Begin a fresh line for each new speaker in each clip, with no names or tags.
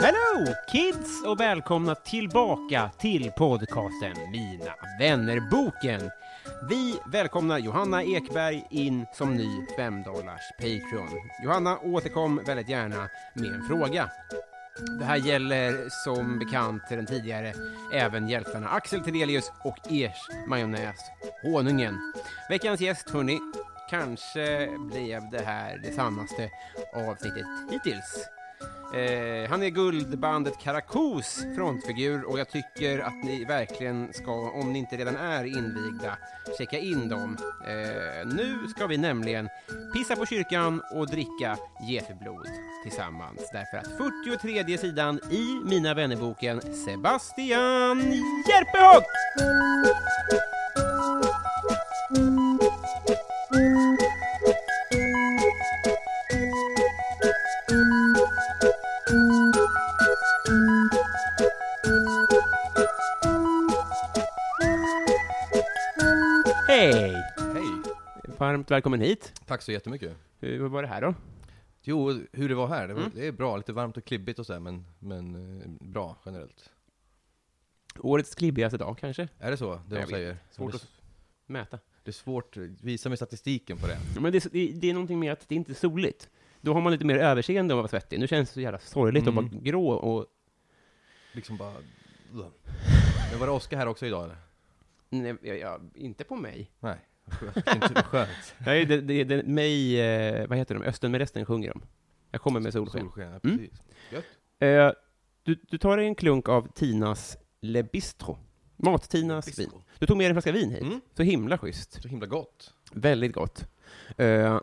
Hello kids och välkomna tillbaka till podcasten Mina vännerboken. Vi välkomnar Johanna Ekberg in som ny 5 Patreon. Johanna återkom väldigt gärna med en fråga. Det här gäller som bekant den tidigare även hjältarna Axel Tedelius och ers majonnäs Honungen. Veckans gäst hörni, kanske blev det här det sannaste avsnittet hittills. Eh, han är guldbandet Karakos frontfigur och jag tycker att ni verkligen ska, om ni inte redan är invigda, checka in dem. Eh, nu ska vi nämligen pissa på kyrkan och dricka getblod tillsammans. Därför att 43 sidan i Mina vännerboken Sebastian Järpehag! Hej!
Hej!
Varmt välkommen hit.
Tack så jättemycket.
Hur var det här då?
Jo, hur det var här, det, var,
Mm.
det är bra. Lite varmt och klibbigt och sådär, men, men eh, bra generellt.
Årets klibbigaste dag kanske?
Är det så, det
Jag vet.
de säger?
Svårt
det,
att mäta.
det är svårt, visa mig statistiken på det.
Ja, men det, är- det, det är någonting med att det inte är soligt. Då har man lite mer överseende om man var svettig. Nu känns det så jävla sorgligt
Mm.
att vara grå och...
Liksom bara... Ugh. Men var det åska här också idag eller?
Nej, jag, jag, inte på mig.
Nej. Inte skönt.
Nej, det, det, det, mig, eh, vad heter de? Östen med resten sjunger de. Jag kommer med solsken. Mm.
Solsken, ja, precis.
Eh, du, du tar dig en klunk av Tinas Le Bistro. Mat-Tinas vin.
Bistro.
Du tog med dig en flaska vin hit.
Mm.
Så himla schysst.
Så himla gott.
Väldigt gott. Eh,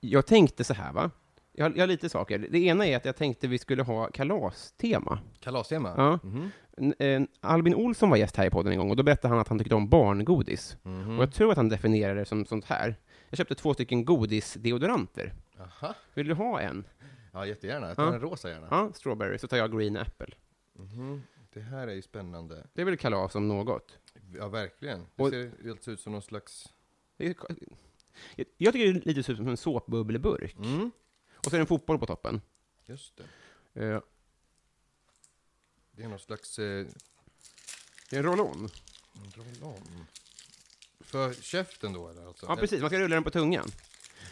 jag tänkte så här, va? Jag har, jag har lite saker. Det ena är att jag tänkte vi skulle ha kalastema.
Kalastema.
Ja.
Mhm.
N- eh, Albin Olsson var gäst här i podden en gång och då berättade han att han tyckte om barngodis.
Mhm.
Och jag tror att han definierade det som sånt här. Jag köpte två stycken godisdeodoranter.
Aha.
Vill du ha en?
Ja, jättegärna. Jag tar
Ja.
en rosa gärna.
Ja, strawberry, så tar jag green apple.
Mhm. Det här är ju spännande.
Det är väl kalas om något.
Ja, verkligen. Det
Och-
ser helt ut som någon slags...
Det är- Jag- Jag tycker det är lite ser ut som en såpbubbleburk.
Mm.
Och så är det en fotboll på toppen.
Just det.
Eh,
Det är någon slags... Eh,
Det är en roll-on.
Rulla om. För käften då eller? Alltså?
Ja, precis. Man ska rulla den på tungan.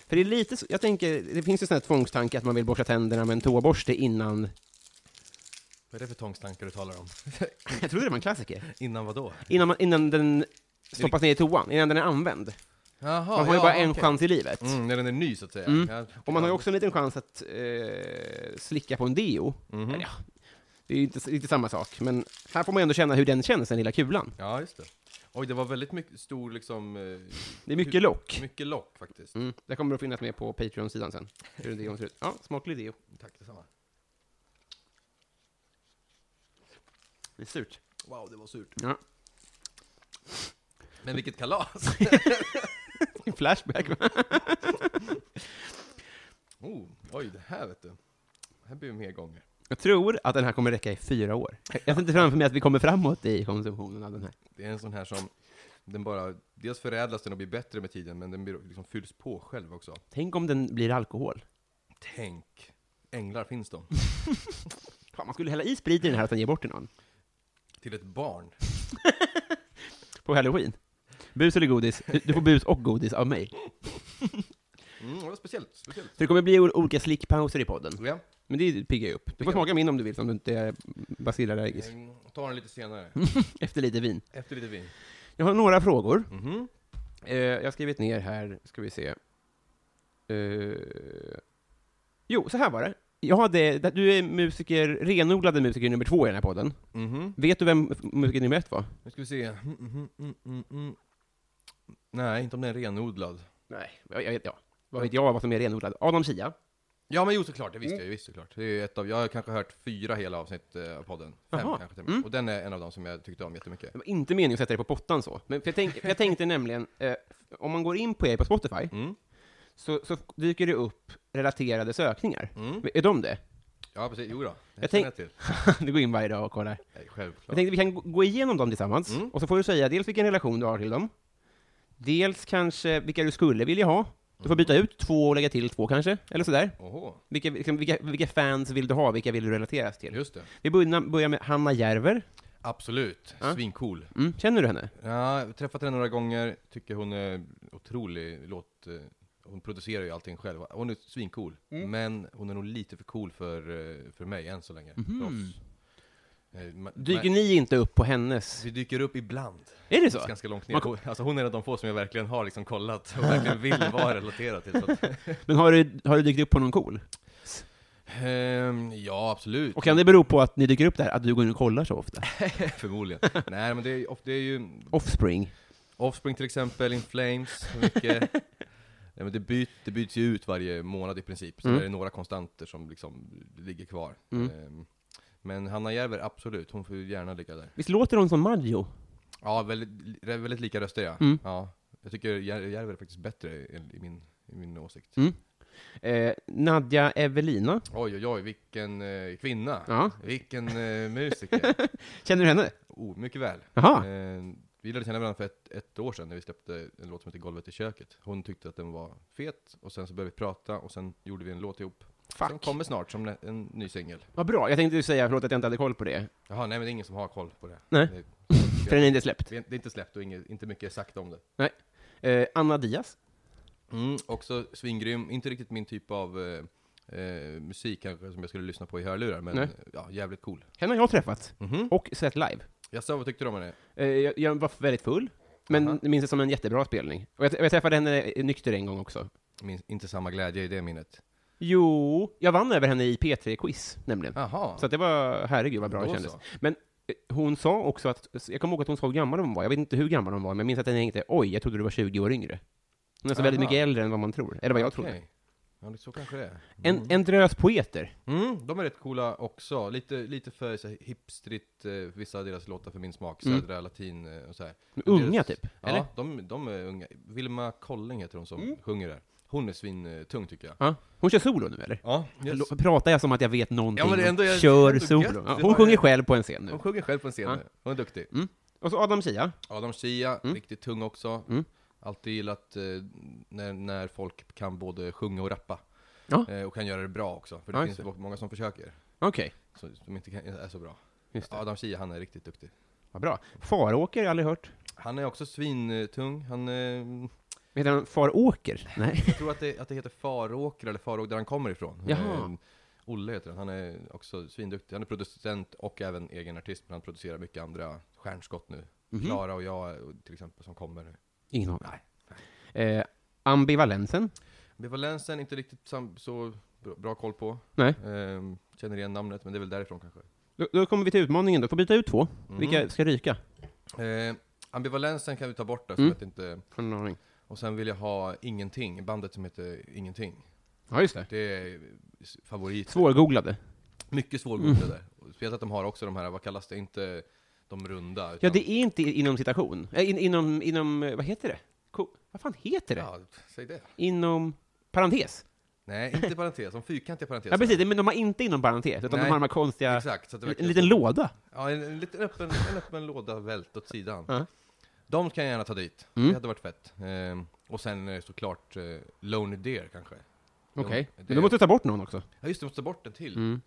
För det är lite så, jag tänker, det finns ju sån här tvångstanke att man vill borsta tänderna med en toaborste innan...
Vad är det för tvångstankar du talar om?
Jag trodde det var en klassiker.
Innan vad då?
Innan, man, innan den stoppas ner i toan, innan den är använd.
Jaha,
Man har ju bara en chans i livet.
Mm, när den är ny så att säga.
Mm.
Ja,
Och man har ju
ja.
också en liten chans att eh, slicka på en deo.
Mhm.
Eller ja, det är ju inte riktigt samma sak, men här får man ju ändå känna hur den känns, den lilla kulan.
Ja, just det. Oj, det var väldigt mycket, stor liksom... eh,
Det är mycket
hu-
lock.
Mycket lock faktiskt.
Mm. Det kommer att finnas med på Patreon-sidan sen, hur den deon ser ut. Ja, smaklig deo.
Tack detsamma.
Det är surt.
Wow, det var surt.
Ja.
Men vilket kalas!
Flashback, va?
oh, oj, det här vet du. Det här blir mer gånger.
Jag tror att den här kommer räcka i fyra år. Jag ser inte framför mig att vi kommer framåt i konsumtionen av den här.
Det är en sån här som, den bara, dels förädlas den och blir bättre med tiden, men den blir, liksom, fylls på själv också.
Tänk om den blir alkohol.
Tänk! Änglar finns de.
Fan, man skulle hälla i sprit i den här utan ge bort till någon.
Till ett barn.
På halloween. Bus eller godis? Du du får bus och godis av mig.
Mm, det var speciellt. speciellt.
Så det kommer bli ol- olika slickpauser i podden.
Ja.
Men det piggar ju upp. Du får smaka min om du vill, om du inte är bacillallergisk.
Mm, Ta den lite senare.
Mm. Efter lite vin.
Efter lite vin.
Jag har några frågor.
Mhm.
Eh, jag har skrivit ner här, ska vi se. Eh, jo, så här var det. Jag hade, du är musiker, renodlade musiker nummer två i den här podden.
Mhm.
Vet du vem musiker nummer ett var?
Nu ska vi se. Mm, mm, mm, mm, mm. Nej, inte om den är renodlad.
Nej. Jag, jag, ja. Vad vet jag vad som är renodlad? Adam Sia.
Ja, men jo såklart, det visste jag ju, visst såklart. Det är ju ett av, jag har kanske hört fyra hela avsnitt eh, av podden. Fem
Jaha. Mm.
kanske till och med. Och den är en av dem som jag tyckte om jättemycket.
Det var inte meningen att sätta dig på pottan så. Men för jag, tänk, för jag tänkte nämligen, eh, om man går in på er på Spotify,
Mm.
så, så dyker det upp relaterade sökningar.
Mm.
Är de det?
Ja, precis. Jo då. Det
Jag
jag
tänk-
jag till.
du går in varje dag och kollar.
Nej,
Jag
självklart.
tänkte vi kan gå- gå igenom dem tillsammans,
Mm.
och så får du säga dels vilken relation du har till dem, dels kanske vilka du skulle vilja ha. Du får byta ut två och lägga till två kanske, eller sådär.
Oho,
Vilka, liksom, vilka, vilka fans vill du ha, vilka vill du relateras till?
just det.
Vi börjar börjar med Hanna Järver.
Absolut. Svincool.
Mm. Känner du henne?
Ja, jag har träffat henne några gånger, tycker hon är otrolig låt... eh, Hon producerar ju allting själv. Hon är svincool.
Mm.
Men hon är nog lite för cool för, eh, för mig än så länge. För oss. Eh, ma-
Mhm. Dyker
ma-
ni inte upp på hennes?
Vi dyker upp ibland.
Är det så?
Ganska långt
Man
ner. Alltså hon är en av de få som jag verkligen har liksom kollat och verkligen vill vara relaterad till. Så att,
Men har du, har du dykt upp på någon cool?
Ehm, ja, absolut.
Och kan det bero på att ni dyker upp där, att du går in och kollar så ofta?
Förmodligen. Nej, men det är, of- det är ju
Offspring.
Offspring till exempel, In Flames, mycket. Nej, men det, byt, det byts ju ut varje månad i princip, så
Mm.
det är några konstanter som liksom ligger kvar.
Mm.
Ehm, Men Hanna Järver, absolut, hon får ju gärna ligga där.
Visst låter hon som Maggio?
Ja, väldigt, re- väldigt lika röster ja.
Mm.
ja. Jag tycker Jär- Järver är faktiskt bättre i, i, min, i min åsikt.
Mm. Eh, Nadja Evelina.
Oj, oj, oj, vilken eh, kvinna!
Ja.
Vilken eh, musiker!
Känner du henne?
Oh, mycket väl.
Jaha.
Eh, vi lärde känna varandra för ett, ett år sedan när vi släppte en låt som heter 'Golvet i köket' Hon tyckte att den var fet, och sen så började vi prata, och sen gjorde vi en låt ihop Som
Fuck.
kommer snart som en, en ny singel
Vad bra. Jag tänkte ju säga, förlåt att jag inte hade koll på det,
Jaha, nej men det är ingen som har koll på det
Nej.
Det,
för den är inte släppt.
det är inte släppt och inget, inte mycket är sagt om det
Nej. Eh, Anna Diaz.
mm, Också svingrym, inte riktigt min typ av eh, eh, musik kanske som jag skulle lyssna på i hörlurar, men
Nej.
ja, jävligt cool
Henne har jag träffat,
Mhm.
och sett live.
Jag sa vad tyckte du om henne?
Eh, jag, jag var väldigt full, men
Aha.
minns det som en jättebra spelning. Och jag, jag träffade henne nykter en gång också.
Min, inte samma glädje i det minnet
Jo, jag vann över henne i P3-quiz, nämligen.
Jaha,
Så att det var, herregud vad bra det
Då
kändes.
så.
Men eh, hon sa också att, jag kommer ihåg att hon sa hur gammal hon var, jag vet inte hur gammal hon var, men jag minns att hon tänkte oj, jag trodde du var 20 år yngre. Hon är alltså väldigt
Aha.
mycket äldre än vad man tror, eller vad jag trodde.
okej Ja, det- så kanske det är
En, en drös poeter.
Mm, de är rätt coola också. Lite, lite för så här, hipstrigt, eh, vissa av deras låtar för min smak,
Mm.
södra latin eh, och så här.
Unga
Deras-
typ, eller? Mm.
Ja, de, de är unga. Vilma Kolling heter hon som sjunger där. Hon är svintung tycker jag.
Ja. Hon kör solo nu eller?
Ja, yes.
Yes. Pratar jag som att jag vet någonting?
Ja, men det är ändå-
och
jag-
kör
ändå
solo.
gött.
Ja,
Det
hon
var-
sjunger själv på en scen nu.
hon sjunger själv på en scen
Ja.
nu. Hon är duktig.
Och så Adam Sia.
Adam Sia, riktigt tung också.
Mm.
Alltid gillat eh, när, när folk kan både sjunga och rappa.
Ja.
Eh, och kan göra det bra också, för det
Ja,
finns
just
ju många som försöker,
Okej,
så- som inte kan, är så bra.
just det.
Adam Sia, han är riktigt duktig.
Vad bra. Faråker, har jag aldrig hört.
Han är också svintung, han eh,
Heter han Faråker? Nej.
Jag tror att det, att det heter Faråker, eller Faråker där han kommer ifrån.
Jaha.
Eh, Olle heter han, han är också svinduktig. Han är producent och även egen artist, men han producerar mycket andra stjärnskott nu.
Mhm.
Klara och jag eh, till exempel, som kommer nu.
Ingen aning. Eh, ambivalensen?
Ambivalensen, inte riktigt sam- så bra- bra koll på.
Nej.
Eh, känner igen namnet, men det är väl därifrån kanske.
Då, då kommer vi till utmaningen då. Får byta ut två.
Mm.
Vilka ska ryka?
Eh, ambivalensen kan vi ta bort där, för
Mm.
att inte...
Från en aning.
Och sen vill jag ha Ingenting, bandet som heter Ingenting.
Ja, just det.
Det är s- favorit.
Svårgooglade.
Mycket svårgodda
Mm.
där. Och Speciellt att de har också de här, vad kallas det, inte de runda. Utan,
Ja, det är inte inom citation. Eh, in, inom, inom, eh, vad heter det? Ko- vad fan heter det?
Ja, säg det.
Inom parentes?
Nej, inte parentes, de fyrkantiga parenteser.
Ja, precis. Men de har inte inom parentes, utan de
Nej.
har de här konstiga...
Exakt. Så att det
En
verkligen-
liten låda.
Ja, en, en liten öppen, en öppen låda vält åt sidan.
Ja.
De kan jag gärna ta dit.
Mm.
Det hade varit fett. Ehm, och sen eh, såklart eh, Lonely Deer kanske.
Okej.
Jo, det-
Men då måste du ta bort någon också. Mm,
Ja just det, måste ta bort en till.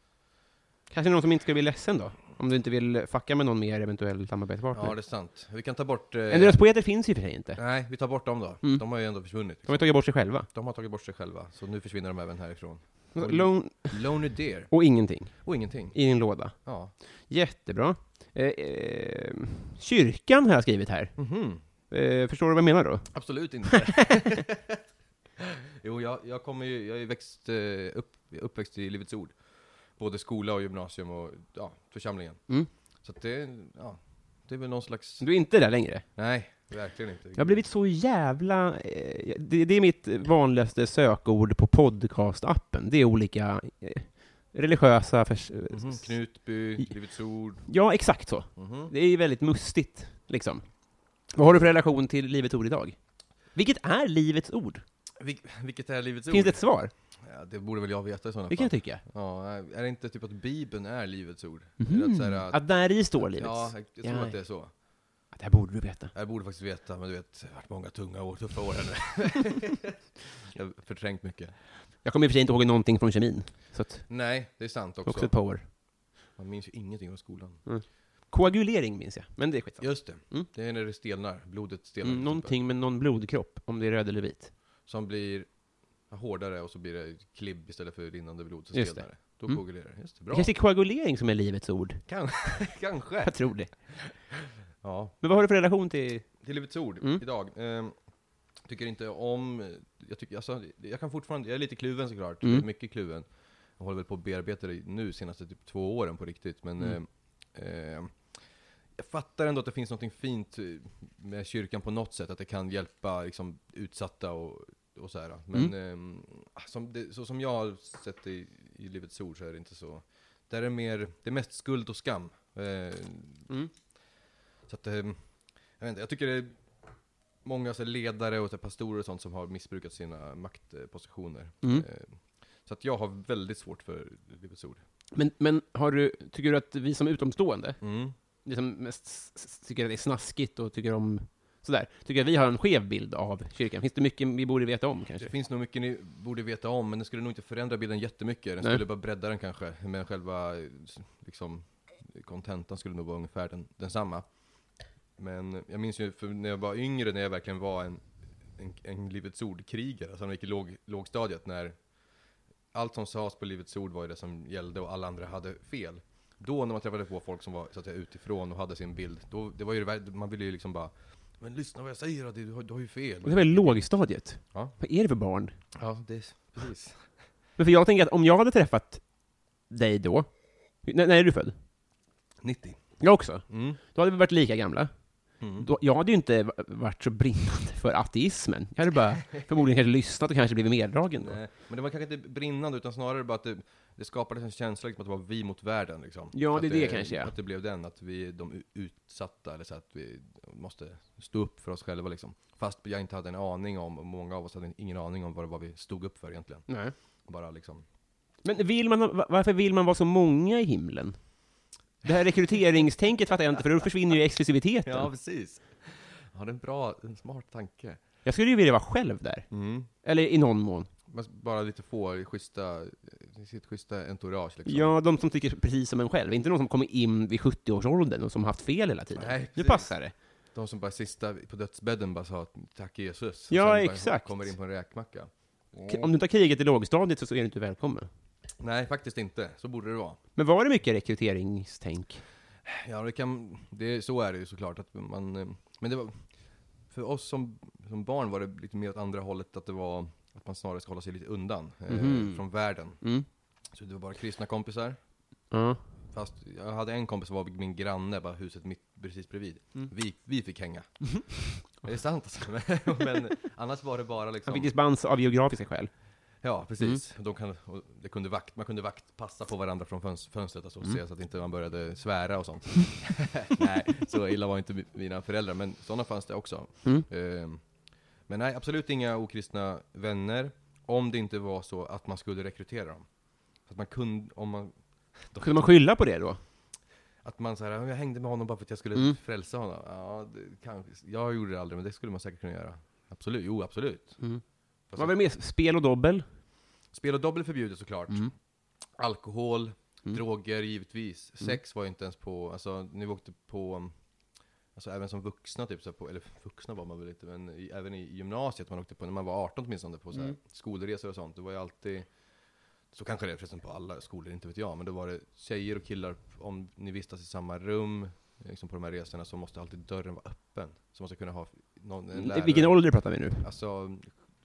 Kanske någon som inte ska bli ledsen då? Om du inte vill fucka med någon mer eventuell samarbetspartner.
Ja, det är sant. Vi kan ta bort... eh,
Men deras poeter finns ju för sig inte.
Nej, vi tar bort dem då.
Mm.
De har ju ändå försvunnit.
De har tagit bort sig själva.
De har tagit bort sig själva, så nu försvinner de även härifrån. Och-
Lone
Lonely Deer.
och ingenting
Och ingenting.
i din låda.
Ja.
Jättebra. Eh, eh, kyrkan har jag skrivit här.
Mhm.
Eh, förstår du vad jag menar då?
Absolut inte. jo, jag, jag kommer ju, jag är växt, eh, upp, uppväxt i Livets Ord. Både skola och gymnasium och ja, församlingen.
Mm.
Så att det, ja, det är väl någon slags...
Du är inte där längre.
Nej, verkligen inte.
Jag har blivit så jävla... Eh, det, det är mitt vanligaste sökord på podcastappen. Det är olika eh, religiösa... Förs-
Mhm, Knutby,
I-
Livets Ord.
Ja, exakt så.
Mhm.
Det är ju väldigt mustigt, liksom. Vad har du för relation till Livets Ord idag? Vilket är Livets Ord?
Vil- vilket är Alltså, Livets
Finns
Ord?
det ett svar?
Ja, det borde väl jag veta i sådana
Det kan jag
fall.
tycka.
Ja, är det inte typ att Bibeln är Livets Ord? Eller
Mhm.
att, så här,
Att där i står Livets.
Ja, jag, jag tror
Ja.
att det är så.
Det här borde du veta.
Jag borde faktiskt veta, men du vet, det har varit många tunga år, tuffa år här nu. jag har förträngt mycket.
Jag kommer i och för sig inte ihåg någonting från kemin. Så att,
Nej, det är sant också.
också ett power.
Man minns ju ingenting från skolan.
Koagulering minns jag, men det är skitsamma.
Just det.
Mm.
Det är när det stelnar, blodet stelnar.
Mm,
typ.
någonting med någon blodkropp, om det är röd eller vit.
Som blir hårdare och så blir det klibb istället för rinnande blod, så
Just
stelnar det. Då
Mm.
koagulerar det. Just det,
Det
bra.
kanske är koagulering som är Livets Ord.
Kanske.
Jag tror det.
Ja.
Men vad har du för relation till...
Till Livets Ord
Mm.
idag. Ehm, tycker inte om, jag, tycker, alltså, jag kan fortfarande, jag är lite kluven såklart,
Mm.
mycket kluven. Jag håller väl på att bearbeta det nu senaste typ två åren på riktigt, men
Mm.
ehm, ehm, jag fattar ändå att det finns något fint eh, med kyrkan på något sätt, att det kan hjälpa liksom, utsatta och, och så här. Men
Mm.
ehm, som det, så som jag har sett det i, i Livets Ord så är det inte så. Där är mer, det är mest skuld och skam. Eh,
Mm.
så att, ehm, jag vet inte, jag tycker det är många så här ledare och så här pastorer och sånt som har missbrukat sina maktpositioner.
Mm.
Ehm, Så att jag har väldigt svårt för Livets Ord.
Men, men har du, tycker du att vi som utomstående,
Mm.
vi som mest s- s- tycker att det är snaskigt och tycker om sådär, tycker att vi har en skev bild av kyrkan? Finns det mycket vi borde veta om kanske?
Det finns nog mycket ni borde veta om, men den skulle nog inte förändra bilden jättemycket. Den
Nej.
skulle bara bredda den kanske, men själva eh, s- liksom, kontentan skulle nog vara ungefär den, densamma. Men jag minns ju för när jag var yngre, när jag verkligen var en, en, en Livets Ord-krigare, alltså när jag gick i låg, lågstadiet, när allt som sades på Livets Ord var ju det som gällde och alla andra hade fel. Då när man träffade på folk som var så att säga, utifrån och hade sin bild, då, det var ju, det vär- man ville ju liksom bara men lyssna vad jag säger, då, du har, du har ju fel.
Och Det är väl lågstadiet?
Ja.
Vad är det för barn?
Ja, det är, precis.
Men för jag tänker att om jag hade träffat dig då, när, när är du född?
90.
Jag också.
Mm.
Då hade vi varit lika gamla.
Mm.
Då, jag hade ju inte va- varit så brinnande för ateismen. Jag hade bara förmodligen kanske lyssnat och kanske blivit meddragen då.
Nej, men det var kanske inte brinnande, utan snarare bara att det, det skapades en känsla liksom, att det var vi mot världen. Liksom.
Ja,
att
det är det kanske, ja.
Att det blev den, att vi är de u- utsatta, eller så att vi måste stå upp för oss själva. Liksom. Fast jag inte hade en aning om, och många av oss hade ingen aning om vad det var vi stod upp för egentligen.
Nej.
Bara liksom.
Men vill man, va- varför vill man vara så många i himlen? Det här rekryteringstänket fattar jag inte, för då försvinner ju exklusiviteten.
precis. Ja, det är en bra, en smart tanke.
Jag skulle ju vilja vara själv där.
Mm.
Eller i någon mån. liksom.
Men bara lite få schyssta, sitt schyssta entourage liksom.
Ja, de som tycker precis som en själv. Inte någon som kommer in vid 70-årsåldern och som haft fel hela tiden.
Nej,
nu
precis.
passar det.
De som bara sista på dödsbädden bara sa tack Jesus.
Ja,
bara
exakt.
kommer in på en räkmacka.
K- Om du tar kriget i lågstadiet så så är du inte välkommen.
Nej, faktiskt inte. Så borde det vara.
Men var det mycket rekryteringstänk?
Ja, det kan, det, så är det ju såklart. Att man, eh, men det var, för oss som, som barn var det lite mer åt andra hållet, att det var att man snarare ska hålla sig lite undan eh,
Mhm.
från världen.
Mm.
Så det var bara kristna kompisar.
Ja.
Fast jag hade en kompis som var min granne, bara huset mitt precis bredvid.
Mm.
Vi, vi fick hänga.
Mhm.
Det är sant alltså. Men, men annars var det bara liksom...
Han fick dispens av geografiska skäl.
Ja, precis.
Mm.
De kan, och det kunde vakt, man kunde vakt passa på varandra från föns- fönstret alltså, och
Mm.
se så att inte man började svära och sånt. nej, så illa var inte mi- mina föräldrar, men sådana fanns det också.
Mm.
Ehm, men nej, absolut inga okristna vänner, om det inte var så att man skulle rekrytera dem. Så att man kunde, om man... de-
Kunde man skylla på det då?
att man såhär, jag hängde med honom bara för att jag skulle
Mm.
frälsa honom. Ja, det, kanske, jag gjorde det aldrig, men det skulle man säkert kunna göra. Absolut, jo absolut.
Mm.
Fast-
Vad var det mer? Spel och dobbel?
Spel och dobbel är förbjudet såklart.
Mm.
Alkohol, Droger givetvis. Sex var ju inte ens på, alltså ni åkte på, um, alltså även som vuxna typ, så här på, eller vuxna var man väl inte, men i, även i gymnasiet man åkte på, när man var 18 åtminstone, på så
Mm.
här, skolresor och sånt. Det var ju alltid, så kanske det är förresten på alla skolor, inte vet jag, men då var det tjejer och killar, om ni vistas i samma rum, liksom på de här resorna, så måste alltid dörren vara öppen. Så man ska kunna ha någon, en lärare.
Vilken ålder pratar vi nu?
Alltså,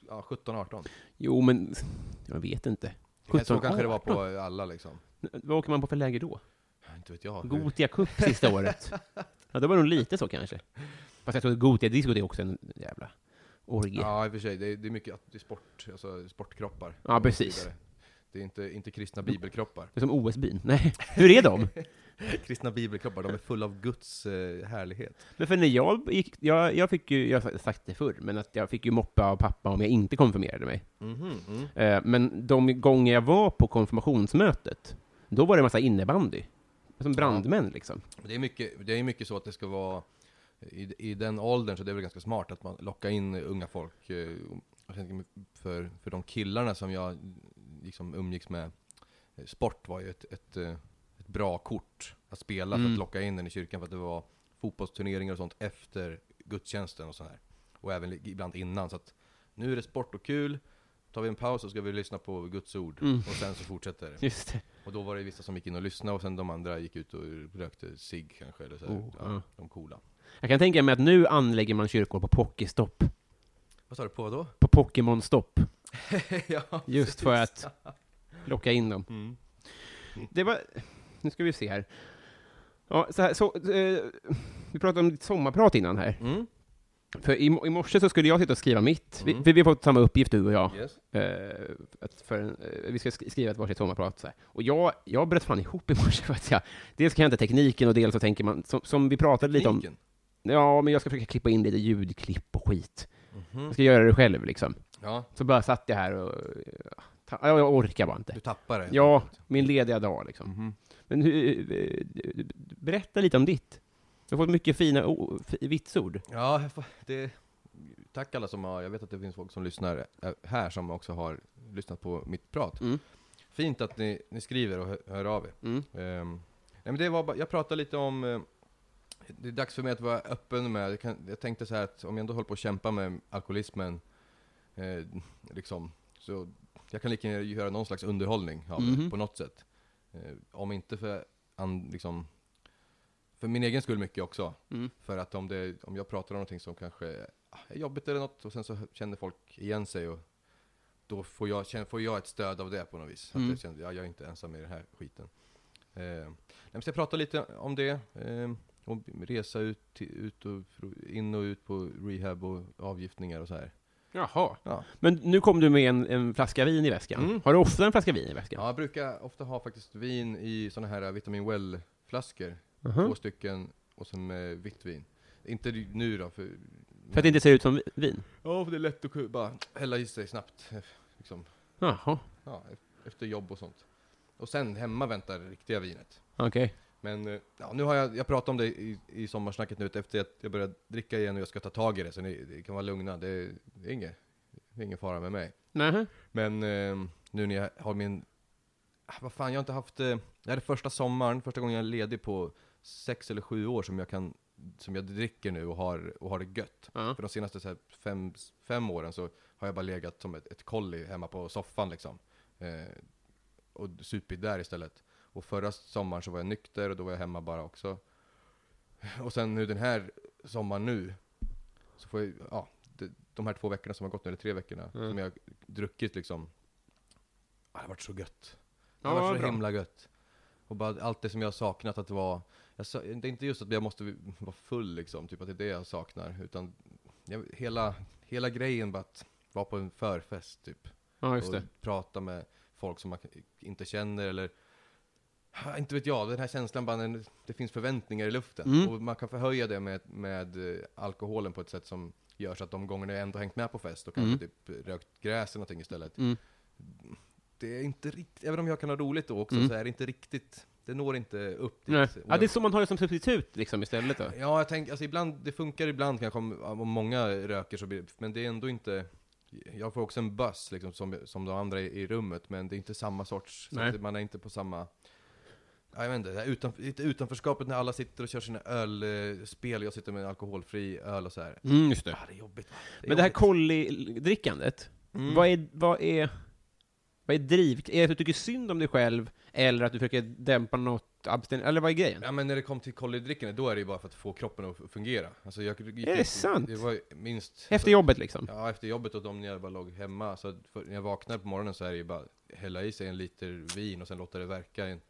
ja, 17-18.
Jo, men jag vet inte.
Så kanske det var
18.
på alla liksom.
Vad åker man på för läger då?
Inte vet jag. Hur-
Gotia Cup sista året. Ja, det var nog lite så kanske. Fast jag tror att Gotia Disco det är också en jävla orgie.
Ja, i och för sig. Det är, det är mycket att- det är sport, alltså sportkroppar.
Ja,
och så
precis.
vidare. Det är inte, inte kristna bibelkroppar.
Det är som OS-byn. Nej, hur är de?
Kristna bibelkroppar, de är fulla av Guds eh, härlighet.
Men för när jag gick, jag, jag fick ju, jag har sagt det förr, men att jag fick ju moppa av pappa om jag inte konfirmerade mig.
Mhm,
Eh, Men de gånger jag var på konfirmationsmötet, då var det en massa innebandy. Som brandmän liksom.
Det är, mycket, det är mycket så att det ska vara, i, i den åldern så det är väl ganska smart att man lockar in unga folk. eh, jag tänker mig För, för de killarna som jag liksom umgicks med, eh, sport var ju ett, ett, eh, ett bra kort att spela för att locka in den i kyrkan för att det var fotbollsturneringar och sånt efter gudstjänsten och så här. Och även li- ibland innan. Så att nu är det sport och kul, tar vi en paus och ska vi lyssna på Guds ord. Och sen så fortsätter det.
Just det.
Och då var det vissa som gick in och lyssnade och sen de andra gick ut och rökte cigg kanske, eller så här,
Oh,
ja,
ja.
de coola.
Jag kan tänka mig att nu anlägger man kyrkor på Pokéstopp.
Vad sa du, på vad då?
På Pokémon-stopp.
ja.
Just för att locka in dem. Det var... Nu ska vi se här. Ja, så här så, eh, vi pratade om ditt sommarprat innan här.
Mm.
För i, mo- i morse så skulle jag sitta och skriva mitt. Vi, för vi har fått samma uppgift, du och jag.
Yes.
Eh, att för, en- eh, vi ska sk- skriva ett varsitt sommarprat. Så här. Och jag, jag bröt fan ihop i morse. För att jag, dels kan jag inte tekniken och dels så tänker man, som, som vi pratade lite om,
Tekniken.
Ja, men jag ska försöka klippa in lite ljudklipp och skit.
Mm.
Jag ska göra det själv liksom.
Mhm. Ja,
Så bara satt jag här och... ja, ta- ja, Jag orkar bara inte.
du tappar det. Mhm.
Ja, min lediga dag liksom. Men hur, eh, berätta lite om ditt. Du har fått mycket fina o- f- vitsord.
Ja, jag får- det... Tack alla som har, jag vet att det finns folk som lyssnar eh, här som också har lyssnat på mitt prat.
Mm.
Fint att ni, ni skriver och hör, hör av er.
Mm.
Ehm, nej men det var bara, jag pratade lite om, eh, det är dags för mig att vara öppen med, jag, kan, jag tänkte så här att om jag ändå håller på att kämpa med alkoholismen, eh, liksom, så jag kan lika gärna göra någon slags underhållning av det,
Mhm.
på något sätt. Eh, om inte för, an, liksom, för min egen skull mycket också.
Mm.
För att om, det, om jag pratar om någonting som kanske ah, är jobbigt eller något och sen så känner folk igen sig och då får jag, känner- får jag ett stöd av det på något vis.
Mm.
Att jag känner, ja, jag är inte ensam i den här skiten. Eh, nej, men så jag pratar lite om det. Eh, och resa ut, till, ut och fro- in och ut på rehab och avgiftningar och så här.
Jaha.
Ja.
Men nu kom du med en, en flaska vin i väskan.
Mm.
Har du ofta en flaska vin i väskan?
Ja, jag brukar ofta ha faktiskt vin i såna här Vitamin Well-flaskor.
Mhm.
Två stycken och sen eh, vitt vin. Inte nu då, för...
För att det inte ser ut som vi- vin?
Ja, för det är lätt att ku- bara hälla i sig snabbt. eh, Liksom.
Jaha.
Ja, e- efter jobb och sånt. Och sen hemma väntar det riktiga vinet.
Okej.
Men eh, ja, nu har jag, jag pratat om det i, i sommarsnacket nu efter att jag började dricka igen och jag ska ta tag i det. Så ni, ni kan vara lugna, det, det, är inget, det är ingen fara med mig.
Nähä.
Men eh, nu när jag har min... Ah, Vad fan, jag har inte haft... eh, Det här är första sommaren, första gången jag är ledig på sex eller sju år som jag kan... Som jag dricker nu och har, och har det gött.
Ja.
För de senaste så här, fem, fem åren så har jag bara legat som ett, ett kolli hemma på soffan liksom. Eh, och supit där istället. Och förra sommaren så var jag nykter och då var jag hemma bara också. Och sen nu den här sommaren nu, så får jag, ja, de, de här två veckorna som har gått nu, eller tre veckorna,
Mm.
som jag har druckit liksom. Ah, det har varit så gött. Det har
Ja,
varit så
bra.
himla gött. Och bara allt det som jag har saknat att vara, jag, sa- det är inte just att jag måste vara full liksom, typ att det är det jag saknar, utan jag, hela, hela grejen bara att vara på en förfest typ
Ja, just
och
det.
prata med folk som man inte känner eller Ah, inte vet jag, den här känslan bara när det finns förväntningar i luften.
Mm.
Och man kan förhöja det med, med eh, alkoholen på ett sätt som gör så att de gångerna jag ändå hängt med på fest och kanske
Mm.
typ rökt gräs eller någonting istället. Det är inte riktigt, även om jag kan ha roligt då också, så är det inte riktigt, det når inte upp dit.
Mm. Nej.
Och
Ja,
jag-
det är så man har det som substitut liksom istället då.
Ja, jag tänker, alltså ibland, det funkar ibland kanske om, om många röker så blir men det är ändå inte Jag får också en buzz liksom som, som de andra i, i rummet, men det är inte samma sorts, så
Nej.
att man är inte på samma Ja, jag vet inte, det här utan, lite utanförskapet när alla sitter och kör sina ölspel, jag sitter med en alkoholfri öl och så här.
Mm, just det.
Ja, Ah, det är jobbigt. är
Men det här
jobbigt.
kolli-drickandet,
Mm.
vad, är, vad, är, vad är driv... Är det att du tycker synd om dig själv, eller att du försöker dämpa något abstinens, eller vad är grejen?
Ja men när det kom till kollidrickande, då är det ju bara för att få kroppen att f- fungera. Alltså jag gick
Är det sant?
Det var ju minst...
Efter jobbet liksom?
Ja, efter jobbet och de när jag bara låg hemma. Så att för, när jag vaknar på morgonen så är det ju bara hälla i sig en liter vin och sen låta det verka i en